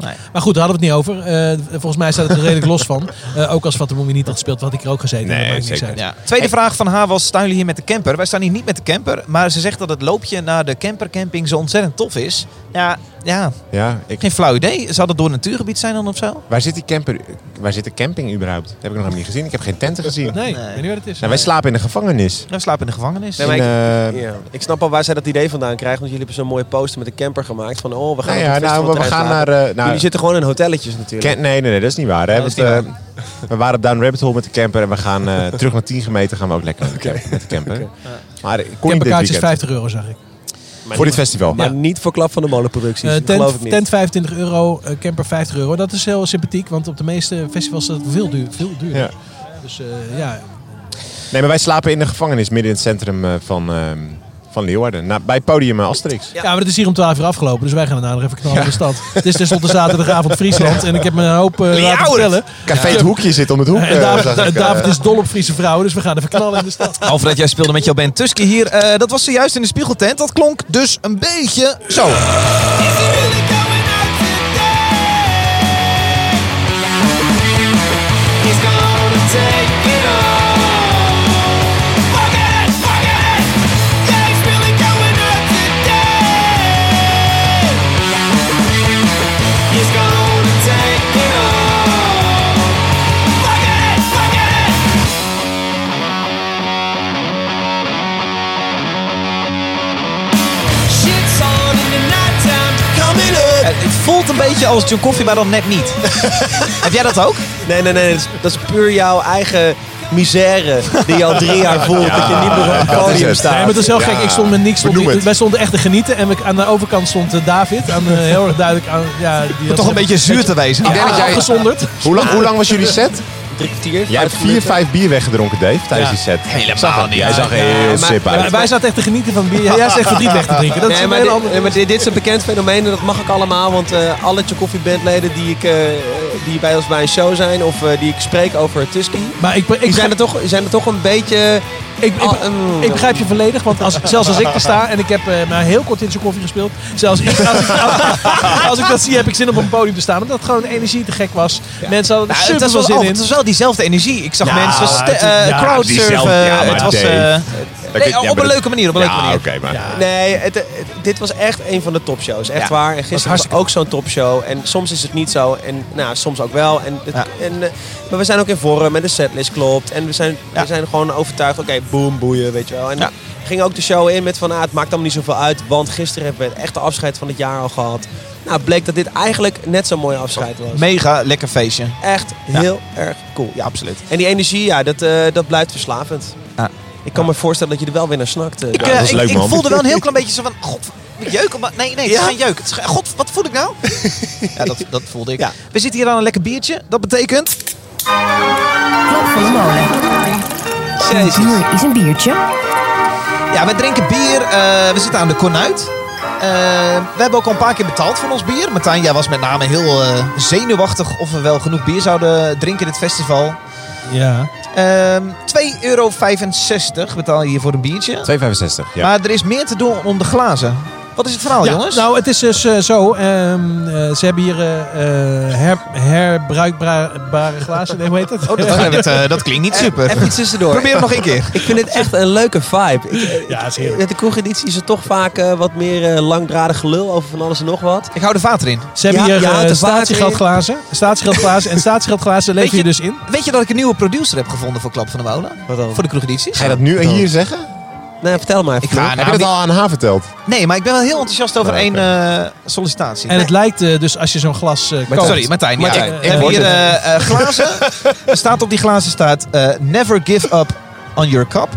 Nee. Maar goed, daar hadden we het niet over. Eh, volgens mij staat het er redelijk los van. Eh, ook als Fatamumi niet had gespeeld, had ik er ook gezeten. Nee, dat maakt niks zeker. uit. Ja. Tweede vraag van haar was, staan jullie hier met de camper? Wij staan hier niet met de camper, maar ze zegt dat het loopje naar de campercamping zo ontzettend tof is. Ja, ja Ja, ik, geen flauw idee. Zou dat door natuurgebied zijn dan of zo? waar, zit die camper, waar zit de camping überhaupt? Dat heb ik nog helemaal niet gezien. Ik heb geen tenten gezien. Nee, ik Nee. weet niet wat het is. Nou, wij slapen in de gevangenis. We slapen in de gevangenis. Nee, maar In, eh, Ja. Ik snap al waar zij dat idee vandaan krijgen. Want jullie hebben zo'n mooie poster met een camper gemaakt. Van, oh, we gaan nou op ja, het nou, festival we, we gaan naar... thuislaten. eh, nou, Jullie zitten gewoon in hotelletjes natuurlijk. Ken- nee, nee, nee, dat is niet waar. Hè? Nee, Oh, dat is Want, eh, we waren op Down Rabbit Hole met de camper en we gaan eh, terug naar 10 gemeten gaan we ook lekker met de camper. Met de camper. Maar ik kon niet dit Camperkaartjes weekend. 50 euro, zag ik. Voor dit festival. Maar niet voor klap van de molenproducties. Eh, dat geloof ik tent, niet. tent 25 euro, eh, camper 50 euro. Dat is heel sympathiek, want op de meeste festivals is dat veel, duur, veel duurder. Ja. Dus eh, ja, Nee, maar wij slapen in de gevangenis midden in het centrum eh, van, ehm, van Leeuwarden. Na, bij podium eh, Asterix. Ja, maar het is hier om 12 uur afgelopen, dus wij gaan daarna nog even knallen in de stad. Het is tenslotte zaterdagavond Friesland en ik heb me een hoop eh, laten vertellen. Café Het Hoekje zit om het hoek. En eh, David, zag ik, eh. David is dol op Friese vrouwen, dus we gaan even knallen in de stad. Alfred, jij speelde met jouw band Tuske hier. Eh, dat was zojuist in de spiegeltent. Dat klonk dus een beetje zo. Eh, het voelt een beetje als John Coffee, maar dan net niet. Heb jij dat ook? Nee, nee, nee. Dat is, dat is puur jouw eigen misère die je al drie jaar voelt. dat je niet meer op het dat is podium het. staat. Nee, maar het is heel Ja, gek. Ik stond met niks. Stond benoem hier- het. wij stonden echt te genieten. En we- aan de overkant stond eh, David. Aan, eh, heel erg duidelijk aan. Ja, die had Toch een zich beetje zuur te wezen. Ik denk dat jij- afgezonderd. eh. Hoe lang, hoe lang was jullie set? Drie kwartier. Jij hebt vijf vier, minuten. vijf bier weggedronken, Dave, tijdens Ja. die set. Helemaal Zag het. niet. Jij zag Ja, heel sip Wij, uit. wij zaten echt te genieten van bier. Jij zat echt verdriet weg te drinken. Dat is Nee, een maar, hele dit, andere... nee, maar dit, dit is een bekend fenomeen en dat mag ik allemaal. Want eh, alle Tchaikovsky bandleden die, ik, eh, die bij ons bij een show zijn of eh, die ik spreek over Tusky... Maar ik, Die ik, zijn er toch, zijn er toch een beetje... Ik, ik, Ah, mm. ik begrijp je volledig, want als, zelfs als ik er sta en ik heb eh, maar heel kort in zijn koffie gespeeld. Zelfs ik, als, ik, als, als ik dat zie, heb ik zin om op een podium te staan. Omdat het gewoon de energie te gek was. Mensen hadden er Nou, het, super was veel wel, zin oh, in. het was wel diezelfde energie. Ik zag Nou, mensen ste- het- eh, ja, crowdsurfen. diezelfde- ja, maar het was, eh, Dave. nee, op een leuke manier. Op een leuke Ja, manier. oké, maar... Nee, het, het- dit was echt een van de topshows. Echt Ja. waar. En gisteren was hartstikke- ook zo'n topshow. En soms is het niet zo. En nou, soms ook wel. En, het- Ja. en, eh, maar we zijn ook in vorm. En de setlist klopt. En we zijn, Ja. we zijn gewoon overtuigd. Oké, boom, boeien, weet je wel. En Ja. we gingen ook de show in met van... Ah, het maakt allemaal niet zoveel uit. Want gisteren hebben we het echte afscheid van het jaar al gehad. Nou, bleek dat dit eigenlijk net zo'n mooi afscheid was. Mega lekker feestje. Echt Ja. heel erg cool. Ja. absoluut. En die energie, ja, dat, eh, dat blijft verslavend. Ja. Ik kan me voorstellen dat je er wel weer naar snakt. eh, Ik, Ja, dat eh, was ik, leuk, ik man. voelde wel een heel klein beetje zo van... God, ik jeuk. Maar nee, nee, het is geen jeuk. Het is, geen- God, wat voel ik nou? ja, dat, dat voelde ik. Ja. We zitten hier aan een lekker biertje. Dat betekent... Klap van de molen. Jezus. Hier is een biertje. Ja, we drinken bier. eh, we zitten aan de Cornuit. Eh, we hebben ook al een paar keer betaald voor ons bier. Martijn, jij was met name heel eh, zenuwachtig of we wel genoeg bier zouden drinken in dit festival. Ja. Ehm 2,65 euro betaal je hier voor een biertje. 2,65. Ja. Maar er is meer te doen om de glazen. Wat is het verhaal, Ja, Oh, jongens? Nou, het is dus eh, zo. ehm, eh, ze hebben hier eh, eh, her, herbruikbare glazen. Nee, hoe heet dat? Oh, dat, dat, eh, dat klinkt niet super. Even iets tussendoor. Probeer hem nog één keer. eh, Ik vind het echt een leuke vibe. Ik, eh, Ja, is heerlijk. met de kroegeditie is er toch vaak eh, wat meer eh, langdradig gelul over van alles en nog wat. Ik hou de vater in. Ze hebben Ja, hier ja, eh, het is water in. statiegeldglazen. Statiegeldglazen. En statiegeldglazen Weet lever je je- dus in. Weet je dat ik een nieuwe producer heb gevonden voor Klap van de Molen? Wat dan? Voor de kroegedities? Ga je dat nu en hier zeggen? Nee, vertel maar even. Ik ga- Floor. nou, Heb je dat al aan haar verteld? Nee, maar ik ben wel heel enthousiast over Nou, één oké. eh, sollicitatie. En het lijkt eh, dus als je zo'n glas eh, koopt. Sorry, Martijn. Martijn, ja, ik we hebben hoor hier het. eh, eh, glazen. er staat op die glazen staat... eh, Never give up on your cup.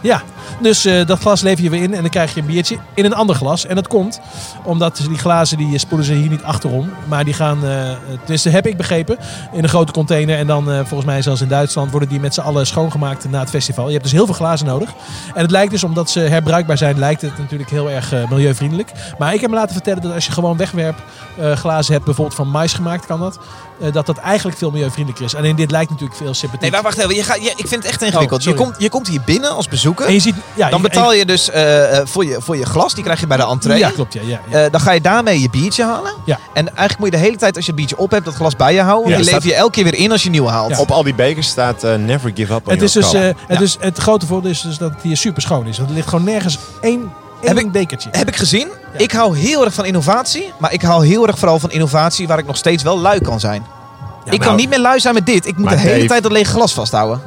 Ja, dus eh, dat glas lever je weer in en dan krijg je een biertje in een ander glas. En dat komt omdat die glazen die eh, spoelen ze hier niet achterom. Maar die gaan, eh, tenminste heb ik begrepen, in een grote container. En dan eh, volgens mij zelfs in Duitsland worden die met z'n allen schoongemaakt na het festival. Je hebt dus heel veel glazen nodig. En het lijkt dus, omdat ze herbruikbaar zijn, lijkt het natuurlijk heel erg eh, milieuvriendelijk. Maar ik heb me laten vertellen dat als je gewoon wegwerp eh, glazen hebt, bijvoorbeeld van mais gemaakt kan dat. eh, dat dat eigenlijk veel milieuvriendelijker is. Alleen dit lijkt natuurlijk veel sympathieker. Nee, maar wacht even. Je gaat, je, ik vind het echt ingewikkeld. Oh, je, sorry. komt, je komt hier binnen als bezoeker. En je ziet ja, Dan ik- betaal je dus eh, eh, voor, je, voor je glas, die krijg je bij de entree. Ja, klopt. Ja, ja, ja. Eh, dan ga je daarmee je biertje halen. Ja. En eigenlijk moet je de hele tijd als je het biertje op hebt, dat glas bij je houden. Ja, en die staat- lever je elke keer weer in als je nieuw haalt. Ja. Op al die bekers staat eh, never give up on het, is your dus, cup. eh, het, is, het grote voordeel is dus dat het hier super schoon is. Want er ligt gewoon nergens één, één Heb ik- bekertje. Heb ik gezien. Ik hou heel erg van innovatie. Maar ik hou heel erg vooral van innovatie waar ik nog steeds wel lui kan zijn. ik nou- kan niet meer lui zijn met dit. Ik moet Maar de hele Dave- tijd dat lege glas vasthouden.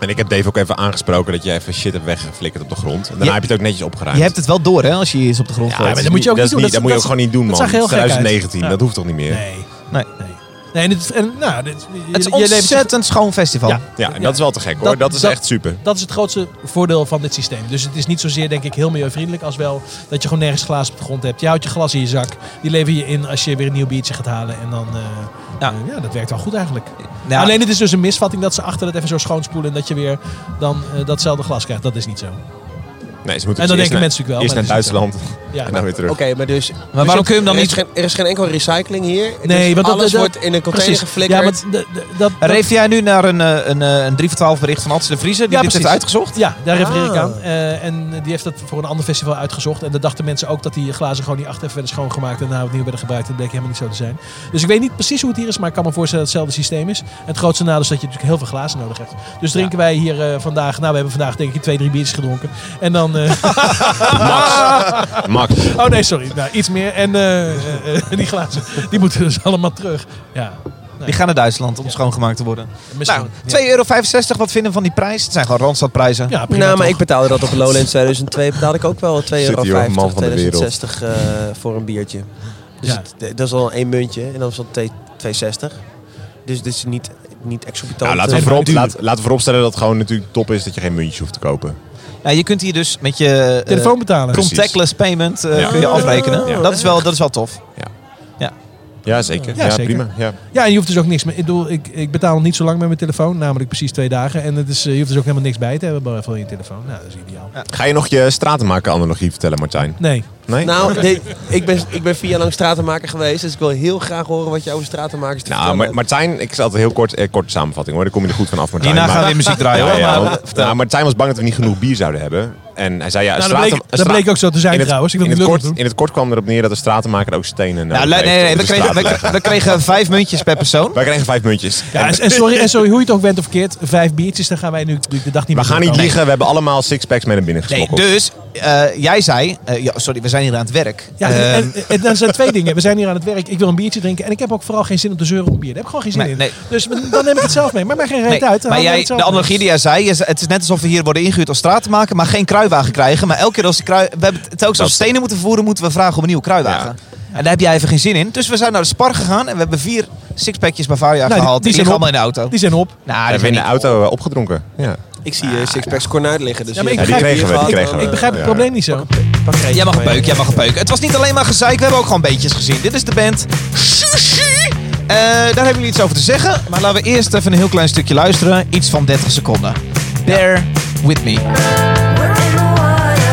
En ik heb Dave ook even aangesproken dat je even shit hebt weggeflikkerd op de grond. En daarna Je- heb je het ook netjes opgeruimd. Je hebt het wel door hè, als je iets op de grond Ja, gooit. maar dat moet je ook dat niet doen. Is niet, dat, Dat- moet je ook dat- gewoon niet doen, dat man. zag heel gek uit. 2019, Ja. dat hoeft toch niet meer? Nee. Nee. Nee. Nee, en dit, en, nou, dit, Het is je- je levert je- ontzettend schoon festival. Ja. Ja, en dat is wel te gek hoor. Dat, Dat- is dat- echt super. Dat is het grootste voordeel van dit systeem. Dus het is niet zozeer, denk ik, heel milieuvriendelijk als wel dat je gewoon nergens glazen op de grond hebt. Je houdt je glas in je zak, die lever je in als je weer een nieuw biertje gaat halen. En dan, eh, Ja. eh, ja, dat werkt wel goed eigenlijk. Nou, Alleen het is dus een misvatting dat ze achter het even zo schoonspoelen en dat je weer dan eh, datzelfde glas krijgt. Dat is niet zo. Nee, ze moeten En dan eerst denken naar- mensen natuurlijk wel, Eerst maar naar dat is niet Duitsland Ja, en dan weer terug. Oké, maar dus... Maar waarom kun je hem dan er niet- Is geen, er is geen enkel recycling hier. Nee, dus want dat- alles dat- wordt in een container precies. geflikkerd. Ja, want de- de- dat, dat- Reef jij nu naar een, eh, een, eh, een 3 voor 12 bericht van Hans de Vriezer? Die Ja, dit heeft precies. uitgezocht? Ja, daar refereer ik Ah. aan. Eh, en die heeft dat voor een ander festival uitgezocht. En daar dachten mensen ook dat die glazen gewoon niet achter even werden schoongemaakt. En daarna opnieuw werden gebruikt. Dat bleek helemaal niet zo te zijn. Dus ik weet niet precies hoe het hier is. Maar ik kan me voorstellen dat het hetzelfde systeem is. Het grootste nadeel is dat je natuurlijk heel veel glazen nodig hebt. Dus drinken wij hier eh, vandaag. Nou, we hebben vandaag denk ik twee, drie biertjes gedronken. En dan. eh, Max, oh nee, sorry. Nou, iets meer. En eh, eh, eh, die glazen. Die moeten dus allemaal terug. Ja. Die gaan naar Duitsland om schoongemaakt te worden. Misschien. Nou, 2,65 euro, wat vinden we van die prijs? Het zijn gewoon Randstadprijzen. Ja, prima, Nou, maar toch? ik betaalde dat op Lowlands 2002. Betaalde ik ook wel 2,50 hier euro, ook een man van de wereld. 2060 eh, voor een biertje. Dus Ja. het- dat is al één muntje. En dan is dat 2,60. Dus dit is niet, niet exorbitant. nou, laten, we eh, voorop, duur. laat, laten we vooropstellen dat het gewoon natuurlijk top is dat je geen muntjes hoeft te kopen. Nou, je kunt hier dus met je eh, Telefoon betalen. Precies. contactless payment eh, Ja. kun je afrekenen. Ja. Dat, is wel, dat is wel tof. Ja, zeker. Ja, Ja, zeker. prima. Ja. Ja, en je hoeft dus ook niks meer. Ik, bedoel, ik, ik betaal nog niet zo lang met mijn telefoon, namelijk precies twee dagen. En het is, eh, je hoeft dus ook helemaal niks bij te hebben behalve van je telefoon. Nou, dat is ideaal. Ga je nog je stratenmaker analogie vertellen, Martijn? Nee. Nee? Nou, de- ik, ben, ik ben vier jaar lang stratenmaker geweest. Dus ik wil heel graag horen wat je over stratenmakers te Nou, vertellen maar, hebt. Martijn, ik zal altijd heel kort, eh, korte samenvatting hoor. Dan kom je er goed van af, Martijn. Hierna Maar- gaan we weer muziek draaien. Ja, hoor. ja, Maar- want- nou, Martijn was bang dat we niet genoeg bier zouden hebben. En hij zei ja, een Nou, dat, straten- bleek, een dat stra- bleek ook zo te zijn trouwens. Ik wil in, niet het lullig kort, doen. in het kort kwam erop neer dat de stratenmaker ook stenen Nou, nee, nodig nee, heeft nee, om we de straat kregen, te we, leggen. we kregen vijf muntjes per persoon. Wij kregen vijf muntjes. Ja, en, en sorry, en sorry, hoe je het ook bent of keert, vijf biertjes, daar gaan wij nu natuurlijk de dag niet we meer gaan niet doorkomen. liegen, we hebben allemaal sixpacks mee naar binnen Nee, gesmokkeld. dus eh, jij zei, eh, ja, sorry, we zijn hier aan het werk. Ja, Ehm, en, en, en dan zijn twee dingen. We zijn hier aan het werk. Ik wil een biertje drinken. En ik heb ook vooral geen zin om te zeuren om bier. Daar heb ik gewoon geen zin Nee, in. nee. Dus dan neem ik het zelf mee. Maar mij geen reet nee, uit. Dan maar haal jij, het zelf de mee. analogie die jij zei, je zei, het is net alsof we hier worden ingehuurd als straat te maken, maar geen kruiwagen krijgen. Maar elke keer als die krui, we hebben het telkens als we stenen moeten vervoeren, moeten we vragen om een nieuwe kruiwagen. En daar heb jij even geen zin in. Dus we zijn naar de Spar gegaan en we hebben vier sixpackjes Bavaria die- gehaald. Die, die liggen zijn allemaal in de auto. Die zijn op. nou, we die hebben zijn in de niet- auto eh, opgedronken. Ja. Ik zie Ah, eh, Sixpacks Cornuit liggen. Dus Ja, maar je- ik Ja, die begrijp- kregen we, die kregen we. Ik begrijp het Ja. probleem niet zo. Jij mag een peuk, jij mag een peuk. Het was niet alleen maar gezeik, we hebben ook gewoon beetjes gezien. Dit is de band Sushi. Eh, daar hebben jullie iets over te zeggen, maar laten we eerst even een heel klein stukje luisteren. Iets van 30 seconden. There with me. We're in the water.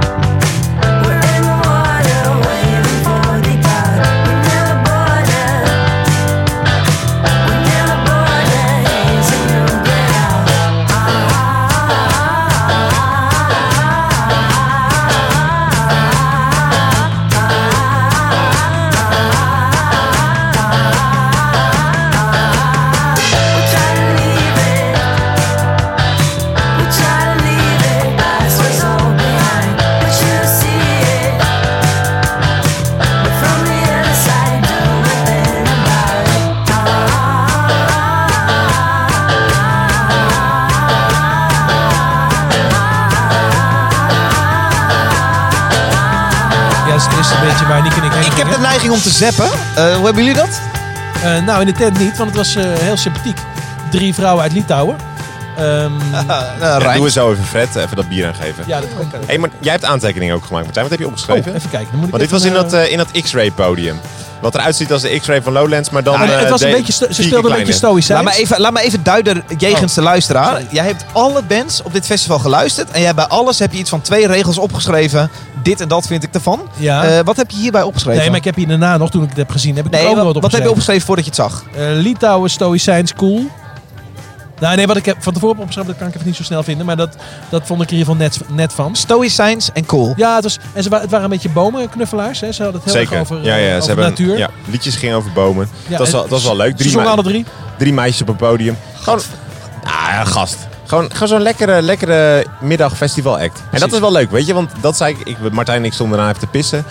We're in the water, waiting for the tide. We're never boarded. We're never boarded. Easy to get out. Ah, ah, ah, ah, ah, ah, ah, ah, ah, ah, ah, ah, ah, ah, ah, ah, ah, ah, ah. We're trying to leave it. We try to leave it, past was all behind, but you see it. But from the other side, do nothing about it. Ja, dus het is een beetje waar Nick en ik heen Ik heb gingen. de neiging om te zappen. Eh, hoe hebben jullie dat? Eh, nou, in de tent niet, want het was eh, heel sympathiek. Drie vrouwen uit Litouwen. Ehm, Eh, Ja, Rijn. doe eens zo even Fred, even dat bier aangeven. ja, dat kan ik Hé, maar jij hebt aantekeningen ook gemaakt, Martijn. Wat heb je opgeschreven? Oh, even kijken. Dan moet ik Want dit even, was in eh, dat, eh, in dat X-ray podium. Wat eruit ziet als de X-ray van Lowlands, maar dan... maar het eh, was een de- beetje, sto- ze vier keer speelden een beetje kleiner. stoïcijns. Laat me, even, laat me even duiden jegens de luisteraar. Jij hebt alle bands op dit festival geluisterd. En jij bij alles heb je iets van twee regels opgeschreven. Dit en dat vind ik ervan. Ja. Eh, wat heb je hierbij opgeschreven? Nee, maar ik heb hier daarna nog, toen ik het heb gezien, heb ik Nee, er ook wat, nog wat Eh, wat heb je opgeschreven. opgeschreven voordat je het zag? Eh, Litouwen, stoïcijns, cool. Nou, nee, wat ik heb van tevoren opgeschreven, dat kan ik even niet zo snel vinden. Maar dat, dat vond ik er in ieder geval net, net van. Stoïcijns en cool. Ja, het, was, en ze, wa- het waren een beetje bomenknuffelaars. Hè? Ze hadden het heel Zeker. erg over, ja, eh, ja, over ze hebben, natuur. Ja, liedjes gingen over bomen. Ja, dat, is en wel, dat is wel leuk. Ze Drie, zongen mei- alle drie. drie meisjes op een podium. Gewoon, ah, ja, gast. Gewoon, gewoon zo'n lekkere, lekkere middagfestival act. En dat is wel leuk, weet je? Want dat zei ik, ik Martijn en ik stonden daarna even te pissen.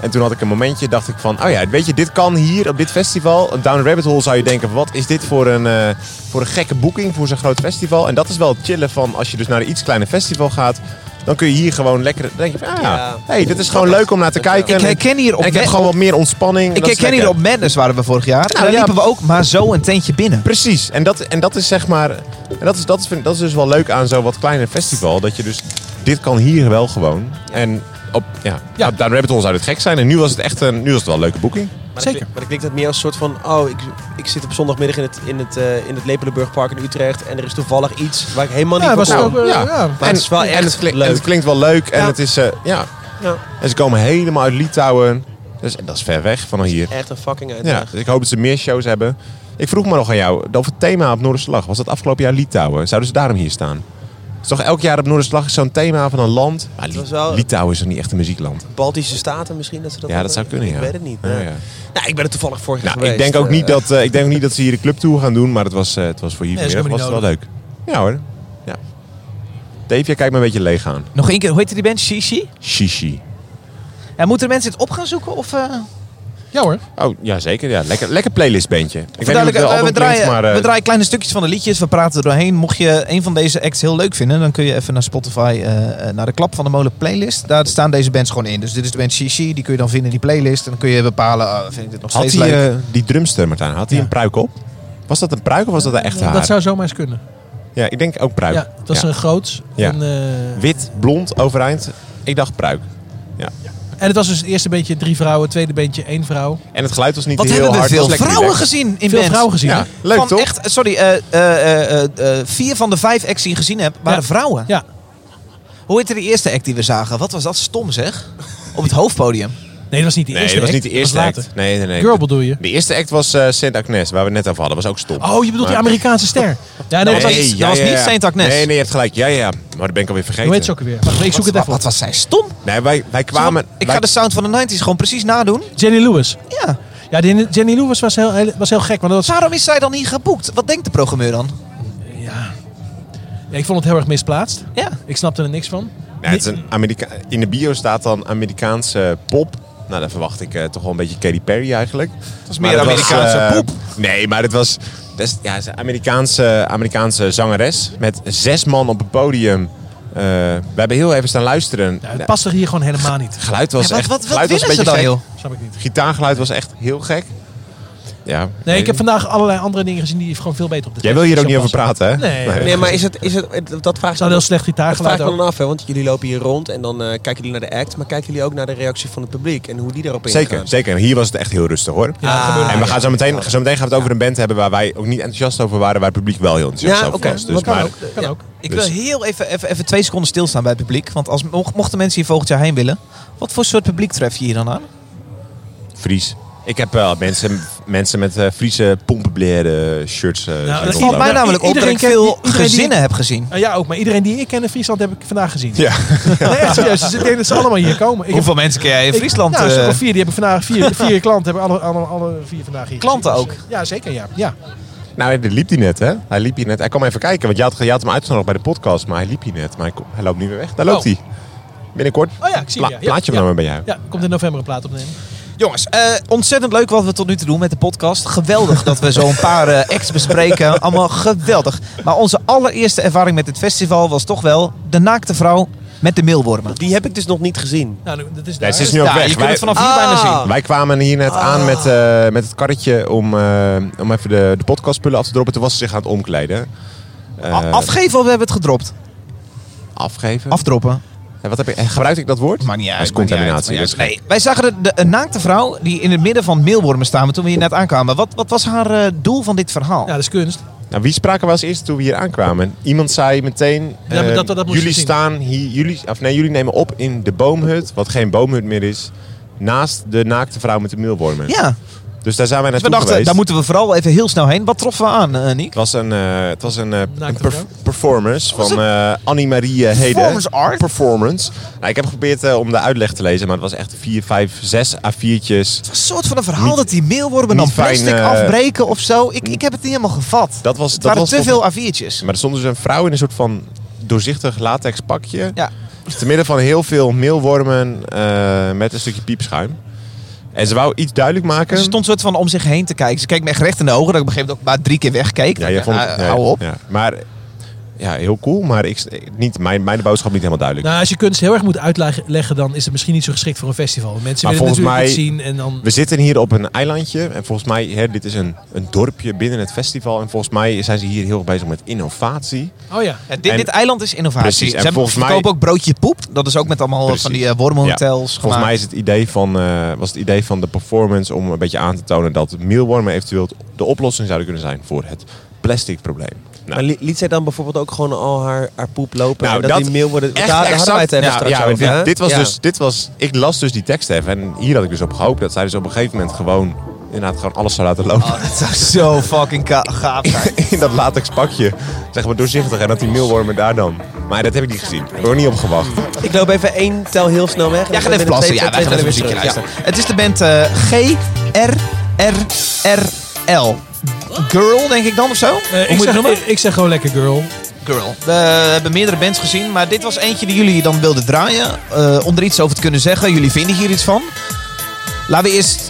En toen had ik een momentje, dacht ik van... Oh ja, weet je, dit kan hier op dit festival. Op Down Rabbit Hole zou je denken... van, Wat is dit voor een, eh, voor een gekke boeking voor zo'n groot festival? En dat is wel het chillen van... Als je dus naar een iets kleiner festival gaat... Dan kun je hier gewoon lekker... Dan denk je van, ah, Ja. hey, dit is gewoon leuk om naar te kijken. Ik herken hier op En ik heb Mad- gewoon wat meer ontspanning. en Ik dat is herken hier lekker. op Madness waren we vorig jaar. en daar ja. liepen we ook maar zo een tentje binnen. Precies, en dat, en dat is zeg maar. En dat is, dat, is, vind- dat is dus wel leuk aan zo'n wat kleiner festival. Dat je dus. Dit kan hier wel gewoon. En op. Ja, Ja. ja. Down Rabbit Hole zou dit gek zijn. En nu was het echt een. Nu was het wel een leuke boeking. Maar Zeker. Ik, maar ik denk dat meer als een soort van... Oh, ik, ik zit op zondagmiddag in het, in het, eh, in het Lepelenburgpark in Utrecht... en er is toevallig iets waar ik helemaal niet Ja, van was het kon. ook, eh, ja. ja. Maar het is wel en echt het, klink- leuk. en het klinkt wel leuk. En Ja. het is. eh, ja. Ja. En ze komen helemaal uit Litouwen. Dus en dat is ver weg van hier. Echt een fucking eh, Ja, uitdaging. dus ik hoop dat ze meer shows hebben. Ik vroeg me nog aan jou. Over het thema op Noorderslag. Was dat afgelopen jaar Litouwen? Zouden ze daarom hier staan? Het is toch elk jaar op Noorderslag is zo'n thema van een land. Maar Li- was wel- Litouwen is toch niet echt een muziekland? Baltische Staten misschien dat ze dat Ja, dat hebben? zou kunnen, ja. Ik weet het niet. Ja, nee. ja. Nou, ik ben er toevallig vorig jaar Nou, ik geweest. denk ook eh, niet dat, eh, ik denk ook niet dat ze hier de clubtour gaan doen, maar het was, eh, het was voor hier Nee, is vanmiddag was het wel helemaal leuk. Ja hoor. Ja. Dave, jij kijkt me een beetje leeg aan. Nog één keer, hoe heette die band? Shishi? Shishi. En moeten mensen het op gaan zoeken? Of, eh, Ja hoor. Oh, ja zeker. Ja. Lekker, lekker playlistbandje. Ik weet niet hoe Verduidelijk, het album we, klinkt, draaien, maar... eh, we draaien kleine stukjes van de liedjes. We praten er doorheen. Mocht je een van deze acts heel leuk vinden, dan kun je even naar Spotify, eh, eh, naar de Klap van de Molen playlist. Daar staan deze bands gewoon in. Dus dit is de band Shishi. Die kun je dan vinden in die playlist. En dan kun je bepalen, ah, vind ik dit nog had steeds hij leuk. eh, die drumster, Martijn, had hij Ja. een pruik op? Was dat een pruik of was dat een echte haar? Dat zou zomaar eens kunnen. Ja, ik denk ook pruik. Ja, dat is Ja. een groots. Ja. En, eh, Wit, blond, overeind. Ik dacht pruik. en het was dus het eerste beetje drie vrouwen, het tweede beetje één vrouw. En het geluid was niet Wat heel hebben we hard. veel het was lekker vrouwen relaxed. gezien in Veel bands. vrouwen gezien. Ja, hè? leuk van toch? Echt, sorry, eh, eh, eh, eh, vier van de vijf acts die je gezien hebt, waren Ja. vrouwen. Ja. Hoe heette de eerste act die we zagen? Wat was dat stom zeg? Op het hoofdpodium. Nee, dat was niet de Nee, eerste. dat was act, niet de eerste was act. later. Nee, nee, nee. Girl bedoel je? De eerste act was eh, Saint Agnes, waar we het net over hadden. Was ook stom. Oh, je bedoelt die Maar- Amerikaanse ster. Ja, nee, dat was... Nee. dat was niet Saint Agnes. Nee, nee, je hebt gelijk. Ja, ja, ja. Maar dat ben ik alweer vergeten. Hoe heet ze ook alweer? Wacht, ik zoek het Wat, even wat op. was zij stom? Nee, wij, wij kwamen... ik wij- ga de sound van de 90s gewoon precies nadoen. Jenny Lewis. Ja. Ja, die Jenny Lewis was heel, heel- was heel gek. Want dat was, Waarom is zij dan niet geboekt? Wat denkt de programmeur dan? ik vond het heel erg misplaatst. Ja. Ik snapte er niks van. Nee, het is een Amerika in de bio staat dan Amerikaanse pop. Nou, dan verwacht ik eh, toch wel een beetje Katy Perry eigenlijk. Het was meer Amerikaanse pop. Nee, maar het was... Dat is, ja, het is een Amerikaanse, Amerikaanse zangeres met zes man op het podium. Eh, we hebben heel even staan luisteren. Ja, het Nou, past er hier gewoon helemaal niet. Geluid was Ja, wat echt... wat, wat geluid was willen een ze beetje dan, gek. joh? Snap ik niet. Gitaargeluid was echt heel gek. Ja. Eh, Nee, ik heb vandaag allerlei andere dingen gezien die gewoon veel beter op de Jij tekst wil hier ook niet zou over passen. praten, hè? Nee. nee. Nee, maar is het, is het, dat vraagt Ze hadden heel slecht Dat vraag gitaargeluid ik me dan ook. af, hè? want jullie lopen hier rond en dan eh, kijken jullie naar de act, maar kijken jullie ook naar de reactie van het publiek en hoe die daarop ingaan? Zeker, zeker. En hier was het echt heel rustig, hoor. Ja, dat gebeurde En we niet. gaan zo meteen, zo meteen gaan we het over een band hebben waar wij ook niet enthousiast over waren, waar het publiek wel heel enthousiast Ja, over oké. was. Dus, Dat kan maar, ook. Kan Ja. ook. Ik Dus- wil heel even, even, even twee seconden stilstaan bij het publiek. Want als, mocht- mochten mensen hier volgend jaar heen willen, wat voor soort publiek tref je hier dan Nou, aan? Fries. Ik heb wel mensen, mensen met eh Friese pompenbladen shirts. eh, zien dat rondlopen. Valt mij nou- namelijk op dat iedereen ik kent- veel iedereen die- gezinnen heb gezien. Nou ja, ook. Maar iedereen die ik ken in Friesland heb ik vandaag gezien. Ja. Nee, echt serieus. Ze denken dat ze allemaal hier komen. Ik heb- Hoeveel mensen ken jij in ik- Friesland? Nou, een stuk eh, of vier. Die hebben vandaag vier, vier klanten. Hebben alle, alle, alle vier vandaag hier Klanten gezien. Dus, eh, Ja, zeker. Ja. ja. Nou, dit liep hij net, hè? Hij liep hier net. Hij kwam even kijken, want je had, je had hem uitgenodigd bij de podcast, maar hij liep hier net. Maar hij, ko- hij loopt nu weer weg. Daar loopt Oh. hij. Binnenkort. Oh ja, ik zie Pla- je. Ja, Plaatje hem ja. dan maar bij jou. Ja, komt in november een plaat opnemen. Jongens, eh, ontzettend leuk wat we tot nu toe doen met de podcast. Geweldig dat we zo'n paar eh acts bespreken. Allemaal geweldig. Maar onze allereerste ervaring met dit festival was toch wel de naakte vrouw met de meelwormen. Die heb ik dus nog niet gezien. Nou, nu- dat Nee, is daar. ze is nu ook Ja, weg. je kunt Wij- het vanaf Ah. hier bijna zien. Ah. Wij kwamen hier net aan met, eh, met het karretje om, eh, om even de, de podcastspullen af te droppen. Toen was ze zich aan het omkleden. Eh, A- afgeven of we hebben het gedropt? afgeven. Afdroppen. En wat heb ik, eh, gebruik ik dat woord? Maakt niet uit. Dat is maakt niet uit, contaminatie. dus maakt niet dat uit. is Nee, wij zagen de, de, een naakte vrouw die in het midden van meelwormen staan toen we hier net aankwamen. Wat, wat was haar eh, doel van dit verhaal? Ja, dat is kunst. gek. Nou, wie spraken we als eerste toen we hier aankwamen? Iemand zei meteen, Ja, maar eh, dat- dat- dat moest jullie je zien. staan hier, jullie, of nee, jullie nemen op in de boomhut, wat geen boomhut meer is, naast de naakte vrouw met de meelwormen. Ja, Dus daar zijn wij Dus we naartoe dachten, geweest. daar moeten we vooral even heel snel heen. Wat troffen we aan, eh Niek? Het was een, eh, het was een, eh, een Naakte perf- vrouw? performance van eh Annie-Marie eh, Heden. Performance art? Performance. Nou, ik heb geprobeerd eh, om de uitleg te lezen, maar het was echt vier, vijf, zes A4'tjes. Een soort van een verhaal Niet- dat die meelwormen dan niet fijn, plastic eh, afbreken of zo. Ik, ik heb het niet helemaal gevat. Dat was, het dat waren was te toch- veel A4'tjes. Maar er stond dus een vrouw in een soort van doorzichtig latex pakje. Ja. Te midden van heel veel meelwormen eh, met een stukje piepschuim. En ze wou iets duidelijk maken. Ze stond een soort van om zich heen te kijken. Ze keek me echt recht in de ogen. Dat ik op een gegeven moment ook maar drie keer wegkeek. Ja, jij vond het, Nou, nee, hou op. ja. Maar ja, heel cool. Maar ik, niet, mijn, mijn boodschap niet helemaal duidelijk. Nou, als je kunst heel erg moet uitleggen, dan is het misschien niet zo geschikt voor een festival. Mensen Maar willen het volgens natuurlijk mij- niet zien en Nou. dan... We zitten hier op een eilandje. En volgens mij, hè, dit is een, een dorpje binnen het festival. En volgens mij zijn ze hier heel erg bezig met innovatie. Oh ja. Ja, dit, En- dit eiland is innovatie. Precies, Ze en hebben, volgens mij- verkopen ook broodje poep. Dat is ook met allemaal Precies. van die eh, wormhotels Volgens mij gemaakt. is het idee van, eh, was het idee van de performance om een beetje aan te tonen dat meelwormen eventueel de oplossing zouden kunnen zijn voor het plastic probleem. Maar li- liet zij dan bijvoorbeeld ook gewoon al haar, haar poep lopen? Nou, en dat, dat- die mail worden... Echt daar, daar hadden wij het even exact- straks ja, ja, over. dit- hè? Dit was Ja. dus, dit was, ik las dus die tekst even en hier had ik dus op gehoopt dat zij dus op een gegeven moment gewoon, inderdaad gewoon alles zou laten lopen. Ah. Oh, dat zou zo fucking ka- gaaf zijn. In dat latex pakje, zeg maar doorzichtig en dat die meelwormen daar dan. Maar dat heb ik niet gezien, ik heb er niet op gewacht. Ik loop even één tel heel snel weg. Ja, ga even plassen. Ja, wij gaan even muziekje luisteren. Het is de band eh, G R R R L. Girl, denk ik dan of zo? Eh, Hoe moet ik, je het zeg, noemen? ik, ik zeg gewoon lekker girl. Girl. We hebben meerdere bands gezien, maar dit was eentje die jullie dan wilden draaien. eh, om er iets over te kunnen zeggen. Jullie vinden hier iets van. Laten we eerst...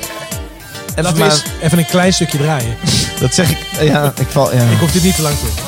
Even Laten we eens even een klein stukje draaien. Dat zeg ik... eh, Ja, ik val... Ja. Ik hoef dit niet te lang te doen.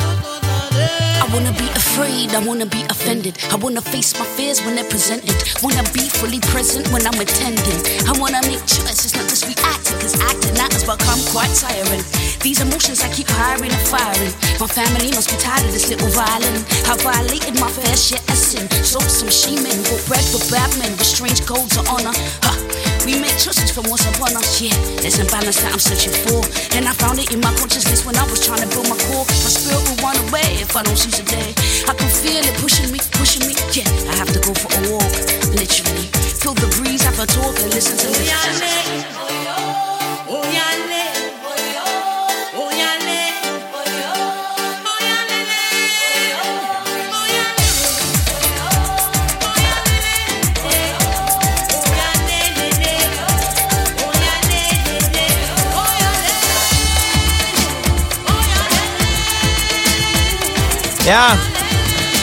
I wanna be afraid, I wanna be offended. I wanna face my fears when they're presented. Wanna be fully present when I'm attending. I wanna make choices, not just reacting, cause acting out has become quite tiring. These emotions I keep hiring and firing. My family must be tired of this little violin. I violated my fair share of sin. Sold some she-men, bought bread for bad men with strange codes of honor. Huh. We make choices from what's upon us, yeah. There's a balance that I'm searching for. And I found it in my consciousness when I was trying to build my core. My spirit will run away if I don't seize the day. I can feel it pushing me, pushing me, yeah. I have to go for a walk, literally. Feel the breeze, have a talk and listen to me. ja,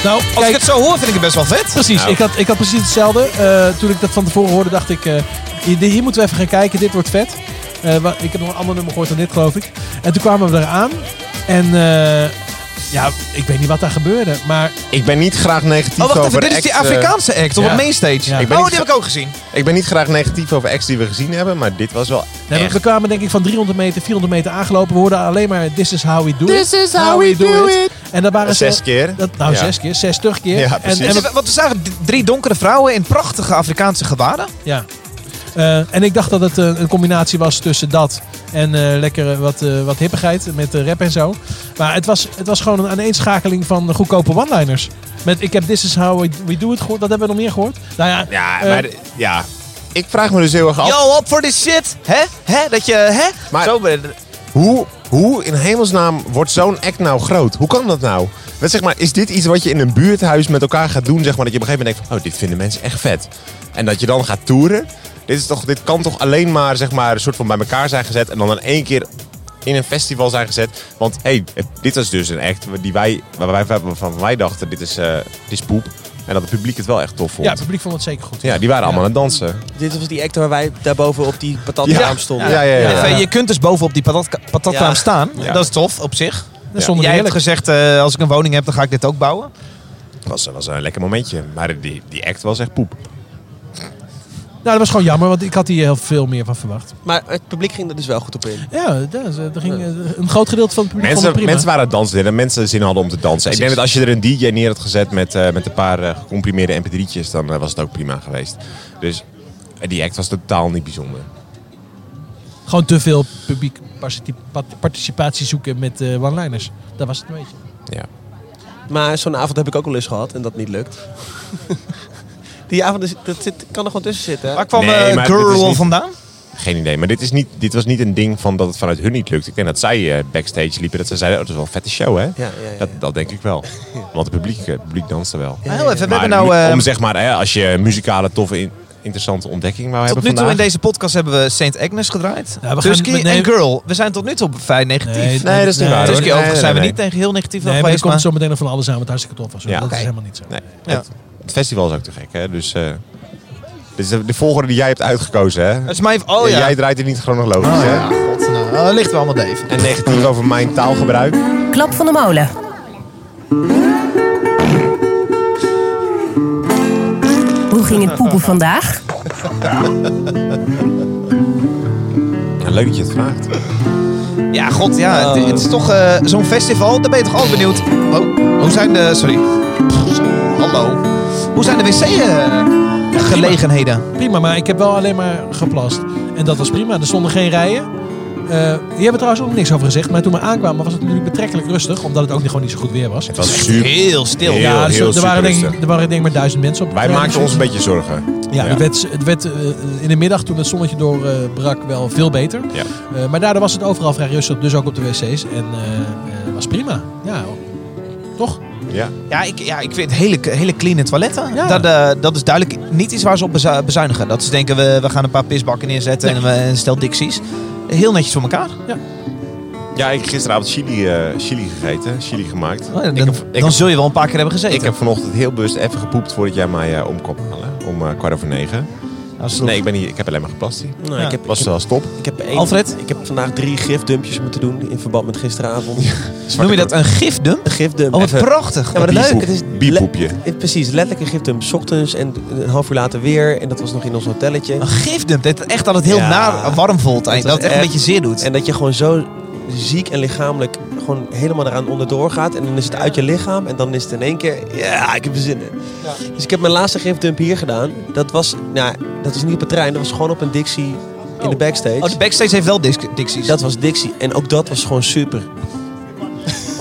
Nou, als ik kijk, het zo hoor vind ik het best wel vet. precies. Nou. Ik, had, ik had precies hetzelfde. Eh, toen ik dat van tevoren hoorde, dacht ik... eh, hier, hier moeten we even gaan kijken. Dit wordt vet. Eh, wa- ik heb nog een ander nummer gehoord dan dit, geloof ik. En toen kwamen we eraan. En eh, ja, ik weet niet wat daar gebeurde. Maar Ik ben niet graag negatief Oh, wacht over even. Dit is die acts, eh, Afrikaanse act op ja. het mainstage. Ja. Oh, Ik ben die niet heb ik ook gezien. Ik ben niet graag negatief over acts die we gezien hebben, maar dit was wel nee, we- echt... we kwamen denk ik van 300 meter, 400 meter aangelopen. We hoorden alleen maar This is how we do it. This is how, we do, it. En daar waren ze- Zes keer. Dat, nou, Ja. zes keer. Zes terug keer. Ja, en, precies. en we- Want we zagen d- drie donkere vrouwen in prachtige Afrikaanse gewaden. Ja. Eh, en ik dacht dat het eh, een combinatie was tussen dat en eh, lekker eh, wat, eh, wat hippigheid met eh, rap en zo. Maar het was, het was gewoon een aaneenschakeling van goedkope one-liners. Met ik heb This is how we, we do it gehoord. Wat hebben we nog meer gehoord? Nou ja, Ja, eh, maar ja. Ik vraag me dus heel erg af, Yo, op voor this shit. Hè? Hè? Dat je, hè? Maar- Zo ben- hoe, hoe in hemelsnaam wordt zo'n act nou groot? Hoe kan dat nou? Want zeg maar, is dit iets wat je in een buurthuis met elkaar gaat doen? Zeg maar, dat je op een gegeven moment denkt, oh, dit vinden mensen echt vet. En dat je dan gaat toeren. Dit, is toch, dit kan toch alleen maar, zeg maar een soort van bij elkaar zijn gezet en dan in één keer in een festival zijn gezet. Want hé, hey, dit was dus een act die wij, waar wij, waarvan wij dachten, dit is, eh, dit is poep. En dat het publiek het wel echt tof vond. ja, Ja, het publiek vond het zeker goed. die waren allemaal aan het dansen. Dit was die actor waar wij daarboven op die patatkraam stonden. ja, ja. ja, ja. Enfin, Je kunt dus bovenop die patat, patatkraam Ja. staan. Ja. Dat is tof op zich. Dat stond Jij hebt heerlijk. gezegd, eh, als ik een woning heb, dan ga ik dit ook bouwen. Het was, was een lekker momentje. Maar die, die act was echt poep. Nou, dat was gewoon jammer, want ik had hier heel veel meer van verwacht. Maar het publiek ging er dus wel goed op in. Ja, dat is- er ging eh, een groot gedeelte van het publiek vond het Mensen, prima. mensen waren aan het dansen en mensen zin hadden om te dansen. Ik denk dat als je er een DJ neer had gezet met, eh, met een paar eh, gecomprimeerde mp3'tjes, dan eh, was het ook prima geweest. Dus eh, die act was totaal niet bijzonder. Gewoon te veel publiek particip- participatie zoeken met eh one-liners. Dat was het een beetje. Ja. Maar zo'n avond heb ik ook al eens gehad en dat niet lukt. Die avond is, dat zit, kan er gewoon tussen zitten. hè? Waar kwam Nee, eh, maar dit is Girl niet- vandaan? Geen idee, maar dit, is niet, dit was niet een ding van dat het vanuit hun niet lukt. Ik denk dat zij eh, backstage liepen, dat ze zeiden, oh, dat is wel een vette show, hè? ja, ja. Dat, dat denk ik wel. Want het publiek, eh, het publiek danste wel. Ah, heel even, we Maar hebben nou... mu- eh, om zeg maar, hè, als je muzikale, toffe, in- interessante ontdekking wou tot hebben nu toe in vandaag. deze podcast hebben we St. Agnes gedraaid. Ja, we gaan- Tusky we nemen- en Girl. We zijn tot nu toe op vrij negatief. Nee, Nee, dat is niet Nee, waar. Tusky hoor. Nee, overigens nee, zijn we nee. niet tegen heel negatief Nee, af maar er geweest. komt Maar... zo meteen nog van alles aan wat hartstikke tof was. hoor. Ja. dat Oké. is helemaal niet zo. Nee, Ja. het, het festival is ook te gek, hè? Dus, eh dit is de, de volgorde die jij hebt uitgekozen, hè? Het is mij... Oh Ja, ja. Jij draait het niet chronologisch, Oh, hè? ja. God, nou, dat ligt wel allemaal Dave. En negatief over mijn taalgebruik. Klap van de molen. Hoe ging het poepen vandaag? Ja, leuk dat je het vraagt. Ja, god, ja. Het, het is toch eh, zo'n festival. Daar ben je toch altijd benieuwd. Oh, hoe zijn de... Sorry. Pff, Hallo. Hoe zijn de eh, wc-gelegenheden? Prima, maar ik heb wel alleen maar geplast. En dat was prima. Er stonden geen rijen. Eh je hebt er trouwens ook niks over gezegd. Maar toen we aankwamen was het natuurlijk betrekkelijk rustig. Omdat het ook gewoon niet zo goed weer was. Het was super. Heel stil. Heel, ja, dus heel er, waren super denk, ik- rustig. er waren denk ik maar duizend mensen op. de Wij trein of maakten ons zo. een beetje zorgen. Ja, Het werd, het werd eh, in de middag toen het zonnetje doorbrak wel veel beter. Ja. Eh, maar daardoor was het overal vrij rustig. Dus ook op de wc's. En eh, eh, was prima. Ja, toch? Ja. Ja, ik, ja, ik vind hele, hele clean toiletten. Ja. Dat, eh, dat is duidelijk niet iets waar ze op bezu- bezuinigen. Dat ze denken, we, we gaan een paar pisbakken neerzetten en we, en stel dixies. Heel netjes voor elkaar. ja, ik heb gisteravond chili, eh, chili gegeten, chili gemaakt. Oh, Dan, ik heb, ik dan heb- zul je wel een paar keer hebben gezeten. ik heb vanochtend heel bewust even gepoept voordat jij mij eh, om kon halen. Om eh, kwart over negen. Als het- Nee, ik, ben hier, ik heb alleen maar geplast hier. Nou, Ja. ik, heb, Was wel stop. ik, heb één- Alfred? ik heb vandaag drie gifdumpjes moeten doen in verband met gisteravond. Noem je dat een gifdump? Een gifdump. Oh, wat Even- prachtig. Ja, maar Bierpoep- leuk, het is bierpoepje. le- eh, precies, letterlijk een gifdump. 's ochtends en een half uur later weer. En dat was nog in ons hotelletje. Een gifdump. Dat echt dat het heel Ja. naar warm voelt. Dat Dat, is dat het echt een echt- beetje zeer doet. En dat je gewoon zo ziek en lichamelijk gewoon helemaal eraan onderdoor gaat. En dan is het uit je lichaam. En dan is het in één keer, ja, ik heb er zin in. Dus ik heb mijn laatste gifdump hier gedaan. Dat was, nou, dat was niet op het trein. Dat was gewoon op een Dixie in de backstage. oh, de backstage heeft wel dis- dixies. dat was Dixie. En ook dat was gewoon super.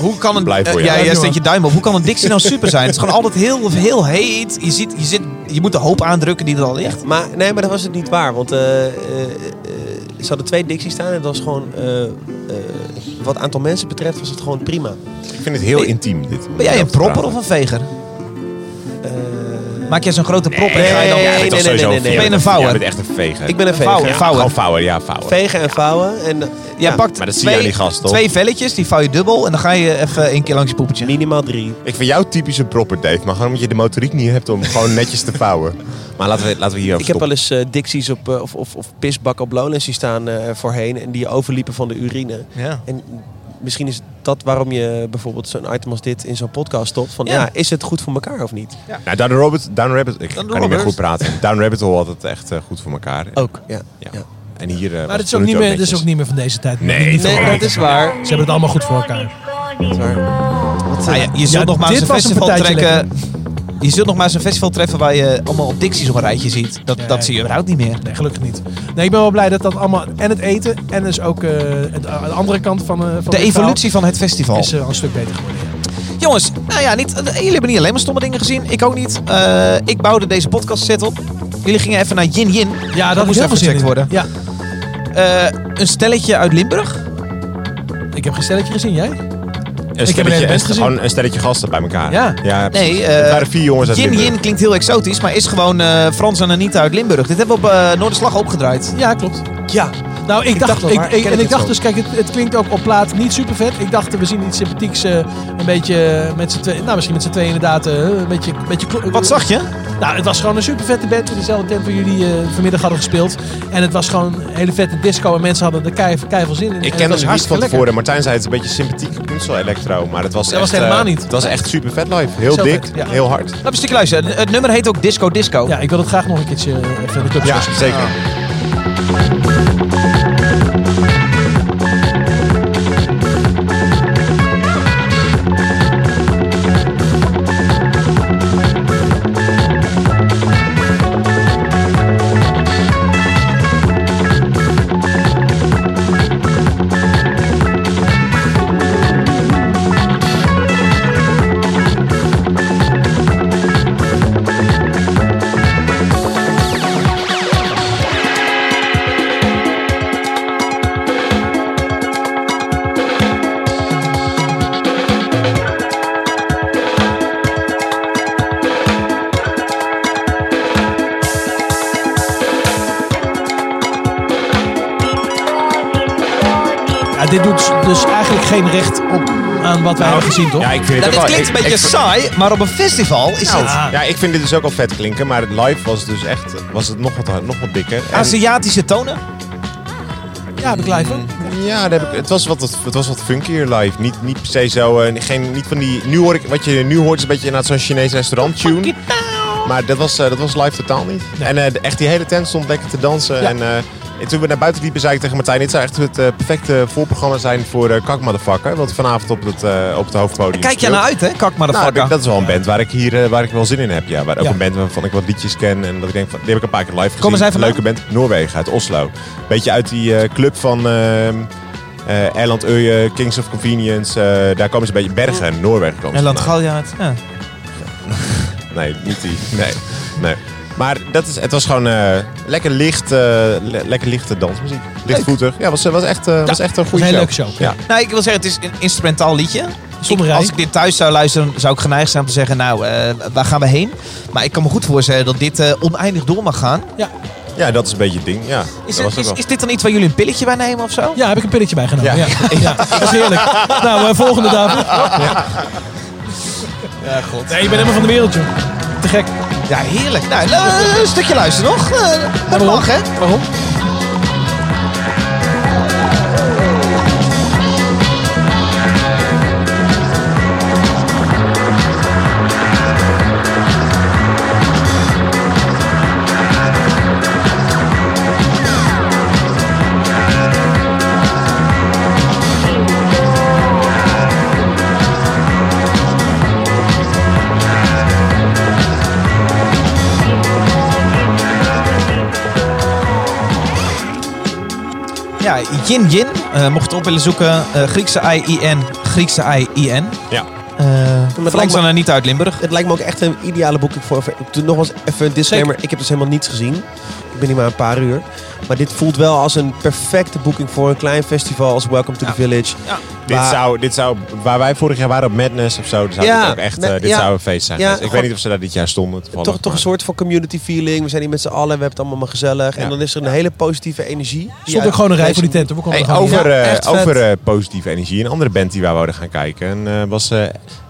hoe kan een, Blij eh, voor je. ja, Ja, jij jongen. steekt je duim op. Hoe kan een dixie nou super zijn? Het is gewoon altijd heel, heel heet. Je, ziet, je, zit, je moet de hoop aandrukken die er al ligt. Maar nee, maar dat was het niet waar. Want eh, eh, eh, ze hadden twee Dixies staan. En dat was gewoon, eh, eh, wat aantal mensen betreft, was het gewoon prima. Ik vind het heel intiem dit. Ben jij een propper of een veger? Eh, Maak jij zo'n grote prop en ga je dan... Nee, Nee, nee, nee, nee, nee, nee, nee. Ben je een vouwer? Je bent echt een veger. ik ben een veger. Vouwer, Ja, vouwer. Gewoon vouwer, ja, vouwer. Vegen en vouwen. En, eh, Jij ja, pakt maar dat zie twee, je aan die gast, toch? twee velletjes, die vouw je dubbel en dan ga je even één keer langs je poepetje. minimaal drie. Ik vind jou typisch een propper, Dave. Maar gewoon omdat je de motoriek niet hebt om gewoon netjes te vouwen. Maar laten we, laten we hierover Ik heb stoppen. wel eens eh Dixies op, eh, of, of, of pisbakken op Lowlands die staan eh, voorheen. En die overliepen van de urine. Ja. En misschien is dat waarom je bijvoorbeeld zo'n item als dit in zo'n podcast stopt. Van Ja. ja, is het goed voor elkaar of niet? Nou, Down, Robert, Down Rabbit... Ik kan niet meer Robert. goed praten. Down Rabbit Hole had het echt eh, goed voor elkaar. Ook, ja. Ja. Ja. En hier eh, was Maar dat het is ook, tot nu niet toe meer, dat is netjes. ook niet meer van deze tijd. Nee, Niet- toch Nee, wel. dat is waar. Ze hebben het allemaal goed voor elkaar. Dat is waar. Nou eh, ja, je zult Ja, nog maar dit eens een was een festival partijtje trekken. Je zult nog maar eens een festival treffen waar je allemaal op dicties op een rijtje ziet. Dat, Nee. dat zie je überhaupt niet meer. Nee, gelukkig niet. Nee, ik ben wel blij dat dat allemaal... En het eten en dus ook eh, het, eh, de andere kant van, eh, van De dit verhaal evolutie van het festival. is eh, al een stuk beter geworden. Jongens, nou ja, niet, jullie hebben niet alleen maar stomme dingen gezien. Ik ook niet. Eh, ik bouwde deze podcast set op. Jullie gingen even naar Yin Yin. Ja, dat moest heel even veel gecheckt zin in. worden. Ja, Eh, een stelletje uit Limburg. ik heb geen stelletje gezien, jij? Een Ik heb stelletje, een band een, gezien. gewoon een stelletje gasten bij elkaar. Ja. ja precies. Nee, Het eh waren vier jongens uit Yin Limburg. Yin klinkt heel exotisch, maar is gewoon eh, Frans en Anita uit Limburg. Dit hebben we op eh Noorderslag opgedraaid. Ja, klopt. Ja, Nou, ik, dacht, wel, ik, maar ik- ken en het ik dacht zo. dus, kijk, het, het klinkt ook op plaat niet super vet. Ik dacht, we zien iets sympathieks, eh, een beetje eh, met z'n tweeën, nou misschien met z'n tweeën inderdaad, eh, een beetje... Een beetje klo- Wat zag je? Nou, het was gewoon een super vette band in dezelfde tent waar jullie eh, vanmiddag hadden gespeeld. En het was gewoon een hele vette disco en mensen hadden er kei, kei veel zin in. Ik En het ken was het niet hartstikke van lekker. tevoren. Martijn zei het is een beetje sympathiek puzzel electro, maar het was Dat was echt, eh, helemaal niet. Het was echt super vet live. Heel Zo dik, vet, ja. heel hard. Laat een stukje luisteren. Het nummer heet ook Disco Disco. Ja, ik wil het graag nog een keertje eh, even in de club Ja, zetten. zeker. Ja, dit doet dus eigenlijk geen recht op aan wat wij hebben gezien, toch? Ja, ik vind Nou, het dit wel- e- klinkt een ik- beetje ik- saai, maar op een festival is het Ah. Ja, ik vind dit dus ook al vet klinken, maar live was het dus echt was het nog wat, hard- nog wat dikker. Ah, En- Aziatische tonen. Ja, heb ik live ook. ja, daar heb ik, het, was wat, het was wat funkier live. Niet, niet per se zo, eh, geen, niet van die, nu hoor ik, wat je nu hoort is een beetje inderdaad zo'n Chinees restaurant tune. Maar dat was, eh, dat was live totaal niet. En eh, de- echt die hele tent stond lekker te dansen. En, eh, en toen we naar buiten liepen zei ik tegen Martijn, dit zou echt het eh, perfecte voorprogramma zijn voor eh Kak Motherfucker. Wat vanavond op het, eh, op het hoofdpodium Kijk jij speelt. naar uit, hè? Kak maar de Nou, fuck heb ik- aan. dat is wel een band waar ik hier eh, waar ik wel zin in heb. Ja. Waar ook Ja. een band waarvan ik wat liedjes ken. En dat ik denk van, die heb ik een paar keer live gezien. Komen zij vandaan? Leuke band. Noorwegen, uit Oslo. Beetje uit die eh, club van ehm eh Erland Uyen, Kings of Convenience. eh, daar komen ze een beetje. Bergen, Noorwegen komen ze Nederland vandaan. Galjaard. Ja. Nee, niet die. Nee, nee. Maar dat is, het was gewoon eh, lekker, licht, eh, le- lekker lichte dansmuziek. Lichtvoetig. Ja, was, was, echt, eh, was echt een was goede een hele show. leuke show. Ja. Nou, ik wil zeggen, het is een instrumentaal liedje. Zonder Ik- rij. als ik dit thuis zou luisteren, zou ik geneigd zijn om te zeggen, nou, eh, waar gaan we heen? Maar ik kan me goed voorstellen dat dit eh, oneindig door mag gaan. ja, dat is een beetje het ding. Ja, dat Is, was het, ook is, wel. is dit dan iets waar jullie een pilletje bij nemen of zo? Ja, heb ik een pilletje bijgenomen. Ja. Ja. Ja. dat is heerlijk. Nou, eh, volgende David. Ja, god. Nee, ik ben helemaal van de wereld, joh. Te gek. Ja, heerlijk. Nou, eh, een stukje luisteren nog. Eh, Dat Waarom? mag, hè? Waarom? Ja, Yin Yin. eh, mocht je het op willen zoeken. eh, Griekse I-I-N. Griekse I-I-N. Ja. Uh, Frans lijkt me- dan niet uit Limburg. Het lijkt me ook echt een ideale boeking voor. voor- Nogmaals, even een disclaimer. Ik heb dus helemaal niets gezien. Ik ben hier maar een paar uur. Maar dit voelt wel als een perfecte boeking voor een klein festival als Welcome to the Village. Ja. Dit Waar- zou, dit zou, waar wij vorig jaar waren op Madness of zo, zou Ja, dit ook echt, eh, met- dit ja. zou een feest zijn. Ja, geweest. ik gewoon- weet niet of ze daar dit jaar stonden. toevallig, Toch, toch maar- een soort van community feeling. We zijn hier met z'n allen. We hebben het allemaal maar gezellig. En Ja. dan is er een hele positieve energie. die Stond ook uit gewoon een rij deze- voor die tent. hoor. We konden Hey, er gewoon over in. eh, echt vet. over eh, positieve energie. Een andere band die wij wouden gaan kijken en, eh, was eh,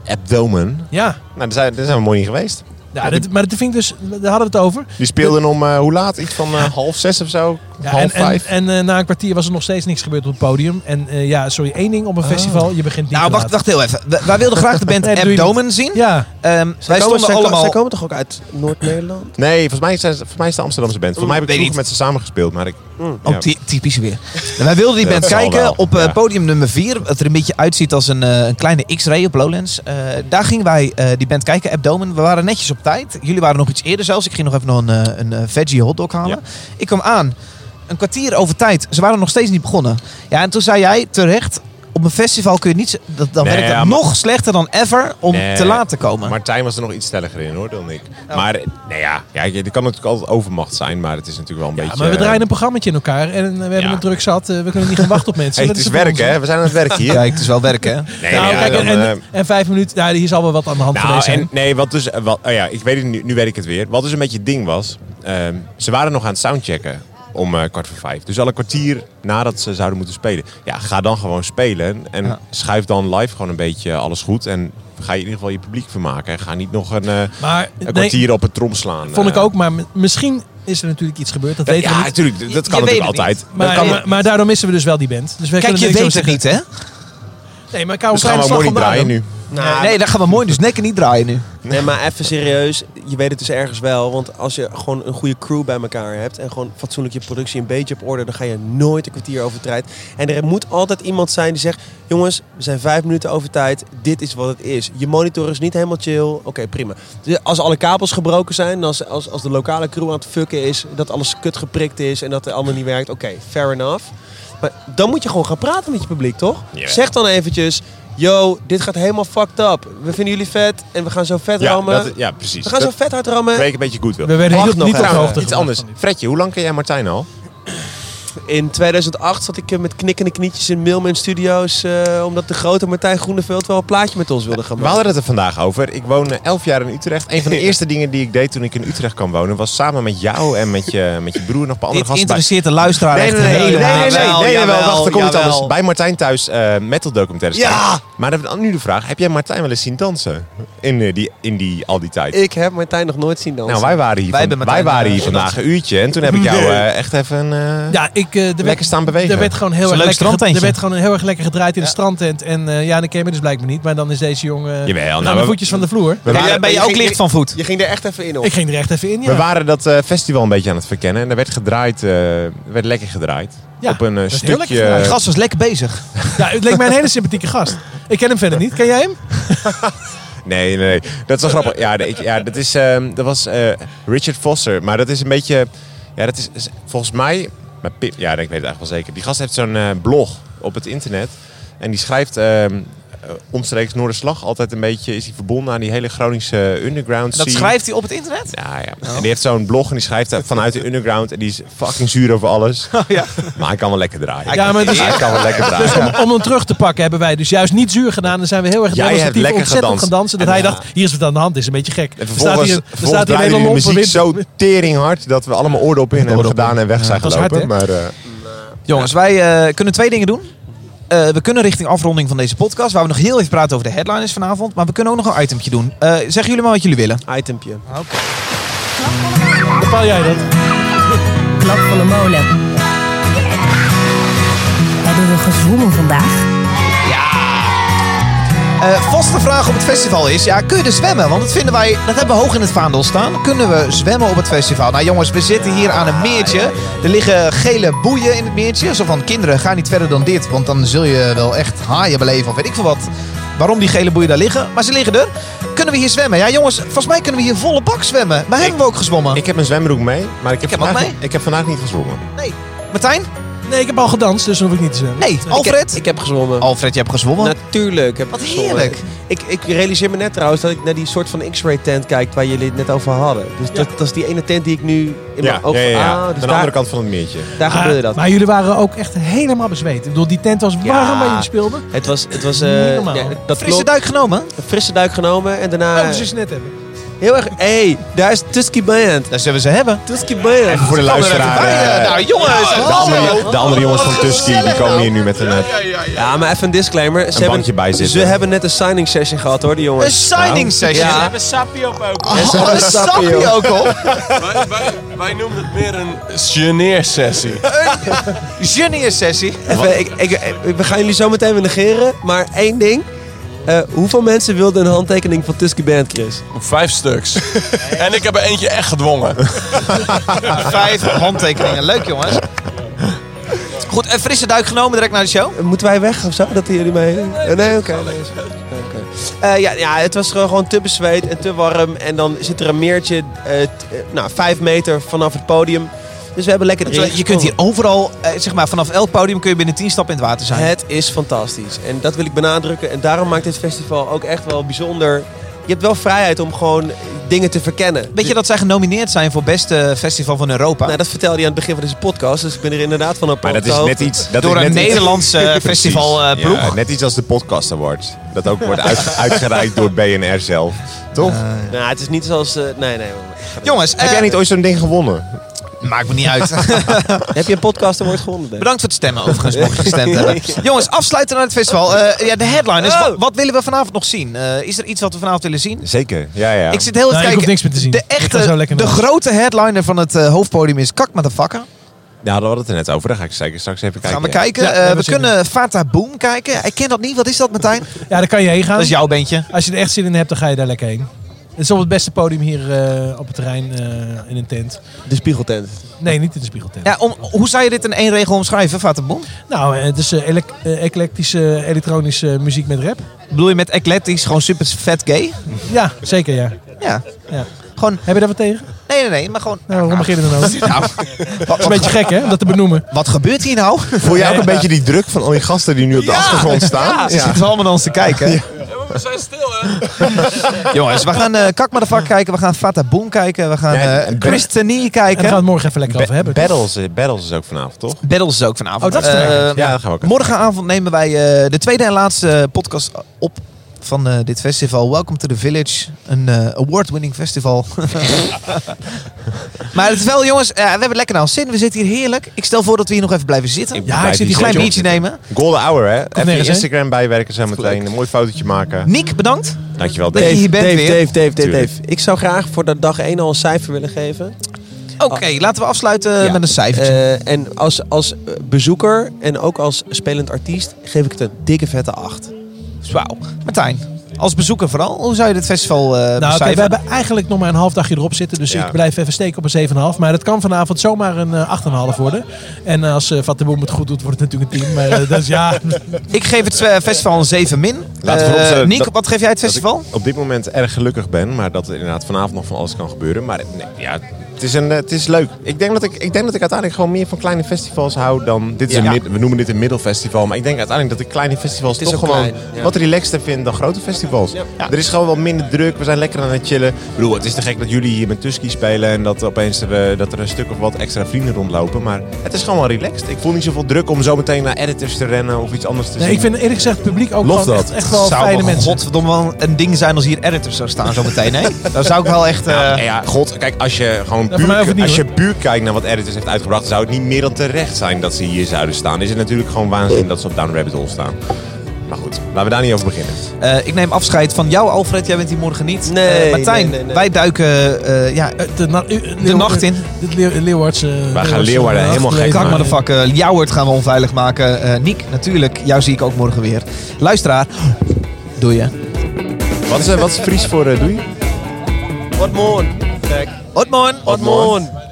Abdomen. Ja. Nou, daar zijn, daar zijn we mooi in geweest. Ja, dit, maar dat vind ik dus, daar hadden we het over. Die speelden om eh, hoe laat? Iets van eh, half zes of zo? Ja, half en en, vijf? en eh, na een kwartier was er nog steeds niks gebeurd op het podium. En eh, ja, sorry, één ding op een festival, je begint niet Nou, te wacht, laat. wacht heel even. We- wij wilden graag de band Nee, dat doe je Abdomen zien. Ja, Ehm, wij Komen, stonden zij, allemaal... zij allemaal... komen toch ook uit Noord-Nederland? nee, volgens mij, zijn, ze- volgens mij is het een Amsterdamse band. Volgens mij heb ik Weet vroeger met ze samen gespeeld. Maar ik, Oh, ja. ty- typisch weer. En wij wilden die Ja, band dat zal wel, kijken op eh, ja. podium nummer 4. Wat er een beetje uitziet als een, eh, een kleine X-ray op Lowlands. Eh, daar gingen wij eh, die band kijken, Abdomen. We waren netjes op tijd. Jullie waren nog iets eerder zelfs. Ik ging nog even nog een, eh, een eh, veggie hotdog halen. Ik kwam aan. Een kwartier over tijd. Ze waren nog steeds niet begonnen. Ja, en toen zei jij terecht... Op een festival kun je niet... z- Dat, dan Nee, werkt het ja, maar- nog slechter dan ever om Nee, te laat te komen. Martijn was er nog iets stelliger in hoor dan ik. Maar eh, nou ja, ja, er kan natuurlijk altijd overmacht zijn, maar het is natuurlijk wel een Ja, beetje... maar we eh, draaien een programmaatje in elkaar en we hebben Ja. het druk zat. Eh, we kunnen niet gaan wachten op mensen. Hey, Dat het is het werk, onzin. hè? We zijn aan het werk hier. Kijk, het is wel werken, hè? Nee, nou, ja, kijk, dan, en, eh, en, en vijf minuten, nou, hier zal wel wat aan de hand nou, geweest zijn. en, nee, wat dus, eh, wat, oh ja, ik weet het nu, nu weet ik het weer. Wat dus een beetje het ding was, ehm, ze waren nog aan het soundchecken. om eh, kwart voor vijf. Dus al een kwartier nadat ze zouden moeten spelen. Ja, ga dan gewoon spelen en Ja. schuif dan live gewoon een beetje alles goed. En ga je in ieder geval je publiek vermaken. En ga niet nog een, eh, Maar een nee, kwartier op een trom slaan. vond ik Eh, ook. Maar m- misschien is er natuurlijk iets gebeurd. Dat Ja, weten we niet. natuurlijk. Dat kan je weet natuurlijk het altijd. niet. Dat Maar, kan- maar, maar daardoor missen we dus wel die band. Dus wij Kijk, kunnen je weet niks het over niet, hè? zeggen. Nee, maar ik hou een dus gaan kleine we slag mooi niet vandaan. draaien nu. Nou, Nee, dan gaan we mooi dus nekken niet draaien nu. Nee, maar even serieus. Je weet het dus ergens wel. Want als je gewoon een goede crew bij elkaar hebt. En gewoon fatsoenlijk je productie een beetje op orde. Dan ga je nooit een kwartier over tijd. En er moet altijd iemand zijn die zegt. Jongens, we zijn vijf minuten over tijd. Dit is wat het is. Je monitor is niet helemaal chill. Oké, prima. Dus als alle kabels gebroken zijn. Als, als, als de lokale crew aan het fucken is. Dat alles kut geprikt is. En dat het allemaal niet werkt. Oké, fair enough. Maar dan moet je gewoon gaan praten met je publiek, toch? Ja. Zeg dan eventjes... Yo, dit gaat helemaal fucked up. We vinden jullie vet en we gaan zo vet Ja, rammen. dat- ja, precies. we gaan dat zo vet hard rammen. week een beetje goed wil. We werden Wacht niet, nog niet op de even. hoogte. Iets gebracht anders. van dit. Fredje, hoe lang ken jij Martijn al? In 2008 zat ik eh, met knikkende knietjes in Mailman Studios... eh, omdat de grote Martijn Groeneveld wel een plaatje met ons wilde gaan We maken. hadden het er vandaag over. Ik woon eh, elf jaar in Utrecht. Een van de eerste dingen die ik deed toen ik in Utrecht kwam wonen... was samen met jou en met je, met je broer nog een paar Dit andere gasten. bij- interesseert de luisteraar Nee, nee, echt nee, nee, nee, nee, helemaal. nee, nee, Jawel, nee, nee, jawel, wacht, er komt iets jawel. anders. Bij Martijn thuis eh, metal documentaires. Ja! kijken. Maar dan heb ik nu de vraag, heb jij Martijn wel eens zien dansen? In, eh, die, in die, al die tijd. Ik heb Martijn nog nooit zien dansen. Nou, wij waren hier, Wij van- hebben wij Martijn, waren eh, hier vandaag een uurtje. En toen heb ik jou eh, echt even... eh, Ja, ik, eh, er werd- Lekker staan bewegen. Er werd gewoon Is heel een leuk erg lekker, ge- er strandtentje. werd gewoon heel erg lekker gedraaid in de strandtent. En eh, ja, dan ken je me dus blijkbaar niet. Maar dan is deze jongen eh, Jawel, aan nou, de we- voetjes van de vloer. we Ben waren- je- ben je ook licht van voet? Je ging er echt even in op. Ik ging er echt even in, ja. We waren dat eh, festival een beetje aan het verkennen. En er werd gedraaid, eh, werd lekker gedraaid. Ja, op een eh, dat is heel lekker stukje... De gast was lekker bezig. ja, het leek mij een hele sympathieke gast. Ik ken hem verder niet. Ken jij hem? Nee, nee, nee. Dat is wel grappig. Ja, nee, ik- ja dat, is, ehm, dat was eh, Richard Foster. Maar dat is een beetje... Ja, dat is, is- volgens mij... Maar Pip, ja, ik weet het eigenlijk wel zeker. Die gast heeft zo'n eh, blog op het internet. En die schrijft ehm, eh, omstreeks Noorderslag. Altijd een beetje is hij verbonden aan die hele Groningse eh, underground Dat scene. schrijft hij op het internet? Ja, Oh. ja. En die heeft zo'n blog en die schrijft daar vanuit de underground. En die is fucking zuur over alles. Maar hij kan wel lekker draaien. Oh, Ja, maar dus- hij kan wel lekker draaien. Dus om, om hem terug te pakken hebben wij dus juist niet zuur gedaan. Dan zijn we heel erg Jij hebt demonstratief lekker gedanst. ontzettend gaan dansen. Dat En hij ja. dacht, hier is wat aan de hand. Dit is een beetje gek. En Er staat vervolgens, hier, er vervolgens staat hier een draaide hele de lompe muziek wind. zo teringhard dat we allemaal oren op in hebben gedaan en weg zijn dat was hard, gelopen. maar, eh, Jongens, wij eh, kunnen twee dingen doen. Eh, we kunnen richting afronding van deze podcast, waar we nog heel even praten over de headliners vanavond. Maar we kunnen ook nog een itempje doen. Eh zeggen jullie maar wat jullie willen. Itempje. Bepaal jij dat? Klap van de molen. Hebben we gezwommen vandaag? Eh, vaste vraag op het festival is, ja, kun je er zwemmen? Want dat vinden wij, dat hebben we hoog in het vaandel staan. Kunnen we zwemmen op het festival? Nou jongens, we zitten hier aan een meertje. Er liggen gele boeien in het meertje. Zo van, kinderen, ga niet verder dan dit. Want dan zul je wel echt haaien beleven of weet ik veel wat. Waarom die gele boeien daar liggen. Maar ze liggen er. Kunnen we hier zwemmen? Ja jongens, volgens mij kunnen we hier volle bak zwemmen. Maar hebben we ook gezwommen? ik heb mijn zwembroek mee, maar ik heb, Oh. heb vandaag, ook mee. niet- ik heb vandaag niet gezwommen. Nee. Martijn? Nee, ik heb al gedanst, dus dan hoef ik niet te zwemmen. Nee. Ik heb- Alfred? Ik heb gezwommen. Alfred, je hebt gezwommen. Natuurlijk heb ik Wat gezongen. heerlijk. Ik, ik realiseer me net trouwens dat ik naar die soort van x-ray tent kijk waar jullie het net over hadden. Dus dat, dat is die ene tent die ik nu in Ja, mijn ogen... ja, ja, ja. Ah, Aan dus de daar, andere kant van het meertje. daar Maar- gebeurde dat. Ah, Maar jullie waren ook echt helemaal bezweet. Ik bedoel, die tent was warm Ja. waar jullie speelden. Het was... Het was eh, Niet normaal. ja, dat Frisse klopt. duik genomen? Een frisse duik genomen en Oh, Eh, daarna... ze is net hebben. heel erg... Hé, hey, daar is Tusky Band. Dat zullen we ze hebben. Tusky Band. Voor de luisteraar, eh, nou jongens, de, andere, de andere jongens van Tusky die komen hier nu met een... eh, Ja, maar even een disclaimer. Ze, Een hebben, bankje bij zitten. ze hebben net een signing session gehad hoor, die een jongens. signing session. Oh, nou. Ja. Ja. hebben sappie op ook. Hadden Sappie ook op. wij, wij, wij noemen het meer een geneersessie. Junior sessie. Even, ik, ik, ik- we gaan jullie zo meteen weer negeren, maar één ding. Eh, hoeveel mensen wilden een handtekening van Tusky Band, Chris? Vijf stuks. En ik heb er eentje echt gedwongen. Vijf handtekeningen. Leuk jongens. Goed, een frisse duik genomen direct naar de show. Moeten wij weg of zo? Dat jullie mee. Oh, Nee, oké. Nee, is- oké. Eh, ja, ja, het was gewoon, gewoon te bezweet en te warm. En dan zit er een meertje, eh, t- eh, nou, vijf meter vanaf het podium. Dus we hebben lekker erin Je kunt hier gesprongen. overal, eh, zeg maar, vanaf elk podium kun je binnen tien stappen in het water zijn. Het is fantastisch. En dat wil ik benadrukken. En daarom maakt dit festival ook echt wel bijzonder. Je hebt wel vrijheid om gewoon dingen te verkennen. Dus- Weet je dat zij genomineerd zijn voor beste festival van Europa? Nou, dat vertelde hij aan het begin van deze podcast. Dus ik ben er inderdaad van op Maar dat is net iets... Dat Door is een net iets- Nederlandse Precies. festivalploeg. Ja, net iets als de Podcast Award. Dat ook wordt uit- uitgereikt door BNR zelf. Toch? Nou, het is niet zoals... eh, nee, nee. Jongens, heb eh, jij niet ooit zo'n ding gewonnen? Maakt me niet uit. Heb je een podcast award gewonnen? Ben? Bedankt voor het stemmen overigens, mocht je gestemd hebben. Jongens, afsluiten naar het festival. Eh, ja, de headline Oh. is, wa- wat willen we vanavond nog zien? Eh, is er iets wat we vanavond willen zien? Zeker, ja, ja. Ik zit heel even Nee, ik hoef kijken. niks meer te zien. De Ik ga zo echte, lekker de naar- grote headliner van het eh, hoofdpodium is Kak Motherfucker. Nou, daar hadden we het er net over. Daar ga ik zeker straks even kijken. Gaan we kijken. Ja, Eh, daar hebben we we zin kunnen Fata Boom kijken. Ik ken dat niet. Wat is dat, Martijn? Ja, daar kan je heen gaan. Dat is jouw bandje. Als je er echt zin in hebt, dan ga je daar lekker heen. Het is op het beste podium hier eh, op het terrein eh, in een tent. De spiegeltent. Nee, niet in de spiegeltent. Ja, om, hoe zou je dit in één regel omschrijven, Fata Boom? Nou, eh, het is eh, elec- eh, eclectische elektronische muziek met rap. Bedoel je met eclectisch gewoon super vet gay? Ja, zeker ja. Ja. Ja. Gewoon, Heb je daar wat tegen? nee, nee, nee, maar gewoon... Nou, waarom begin je er dan over? Het Nou, wat, is een beetje wat, gek hè, om dat te benoemen. wat gebeurt hier nou? Voel jij ook een beetje die druk van al die gasten die nu op de achtergrond staan? Ze zitten allemaal naar ons te kijken. We zijn stil, hè? Jongens, we gaan eh Kak maar de vak kijken. We gaan Fata Boom kijken. We gaan Ja, eh en- Christenie En daar gaan kijken. we het morgen even lekker over hebben. battles, eh, battles is ook vanavond, toch? Battles is ook vanavond. Oh, dat is Eh, vanavond. Ja, dat gaan we ook. Morgenavond nemen wij eh, de tweede en laatste podcast op van eh, dit festival. Welcome to the Village. Een eh, award-winning festival. maar het is wel, jongens, eh, we hebben het lekker naar ons zin. We zitten hier heerlijk. Ik stel voor dat we hier nog even blijven zitten. Ik Ja, blijf ik zit hier een klein zitten, biertje nemen. joh. Golden hour, hè? Even je nergens, hè? Instagram bijwerken zo meteen. Een mooi fotootje maken. Nick, bedankt. Dankjewel, je Dave. hier bent Dave, weer. Dave, Dave, Dave, Tuurlijk. Dave. Ik zou graag voor dat dag 1 al een cijfer willen geven. Oké, Ah. laten we afsluiten Ja. met een cijfertje. Eh, en als, als eh, bezoeker en ook als spelend artiest geef ik het een dikke vette 8. Wauw. Martijn, als bezoeker vooral, hoe zou je dit festival eh Nou, oké, we becijferen? hebben eigenlijk nog maar een half dagje erop zitten. Dus Ja. ik blijf even steken op een 7,5. Maar dat kan vanavond zomaar een eh, 8,5 worden. En als eh Vattenboom het goed doet, wordt het natuurlijk een 10. Maar eh, dat is ja. Ik geef het eh, festival een 7 min. Laten we Eh, vooropstellen Nick, dat- wat geef jij het Dat ik festival? op dit moment erg gelukkig ben, maar dat er inderdaad vanavond nog van alles kan gebeuren. Maar nee, ja, het is, een, eh, het is leuk. Ik denk, dat ik, ik denk dat ik uiteindelijk gewoon meer van kleine festivals hou dan... Dit is Ja. een mid- we noemen dit een middelfestival, maar ik denk uiteindelijk dat ik kleine festivals Het is toch ook gewoon klein, ja. wat relaxter vind dan grote festivals. Er is gewoon wat minder druk, we zijn lekker aan het chillen. Ik bedoel, het is te gek dat jullie hier met Tusky spelen en dat opeens er, eh, dat er een stuk of wat extra vrienden rondlopen. Maar het is gewoon wel relaxed. Ik voel niet zoveel druk om zo meteen naar editors te rennen of iets anders te Nee, zien. ik vind eerlijk gezegd het publiek ook Lof gewoon dat. echt, echt wel zou fijne wel mensen. godverdomme wel een ding zijn als hier editors zou staan zo meteen, hè? Dan zou ik wel echt... Nou, eh, Ja, ja, god, kijk, als je gewoon voor mij hoeft puur, het niet, als je hoor. puur kijkt naar wat Editors heeft uitgebracht, zou het niet meer dan terecht zijn dat ze hier zouden staan. Is het natuurlijk gewoon waanzin dat ze op Down Rabbit Hole staan. Maar goed, laten we daar niet over beginnen. eh, ik neem afscheid van jou, Alfred. Jij bent hier morgen niet. Nee, Eh, Martijn, nee, nee, nee. wij duiken... eh, ja, Eh, De, na- eh, Leeuwarden- nacht in. De eh, Leeu- Leeuwardse. gaan Leeuwarden helemaal gek Kak, maken. maar de fuck. motherfucker. Jouwert gaan we onveilig maken. Eh Nick, natuurlijk. Jou zie ik ook morgen weer. Luisteraar, doe je. Wat is, eh, wat is Fries voor eh, doei? Wat mooi. Otmon! Wat mooi.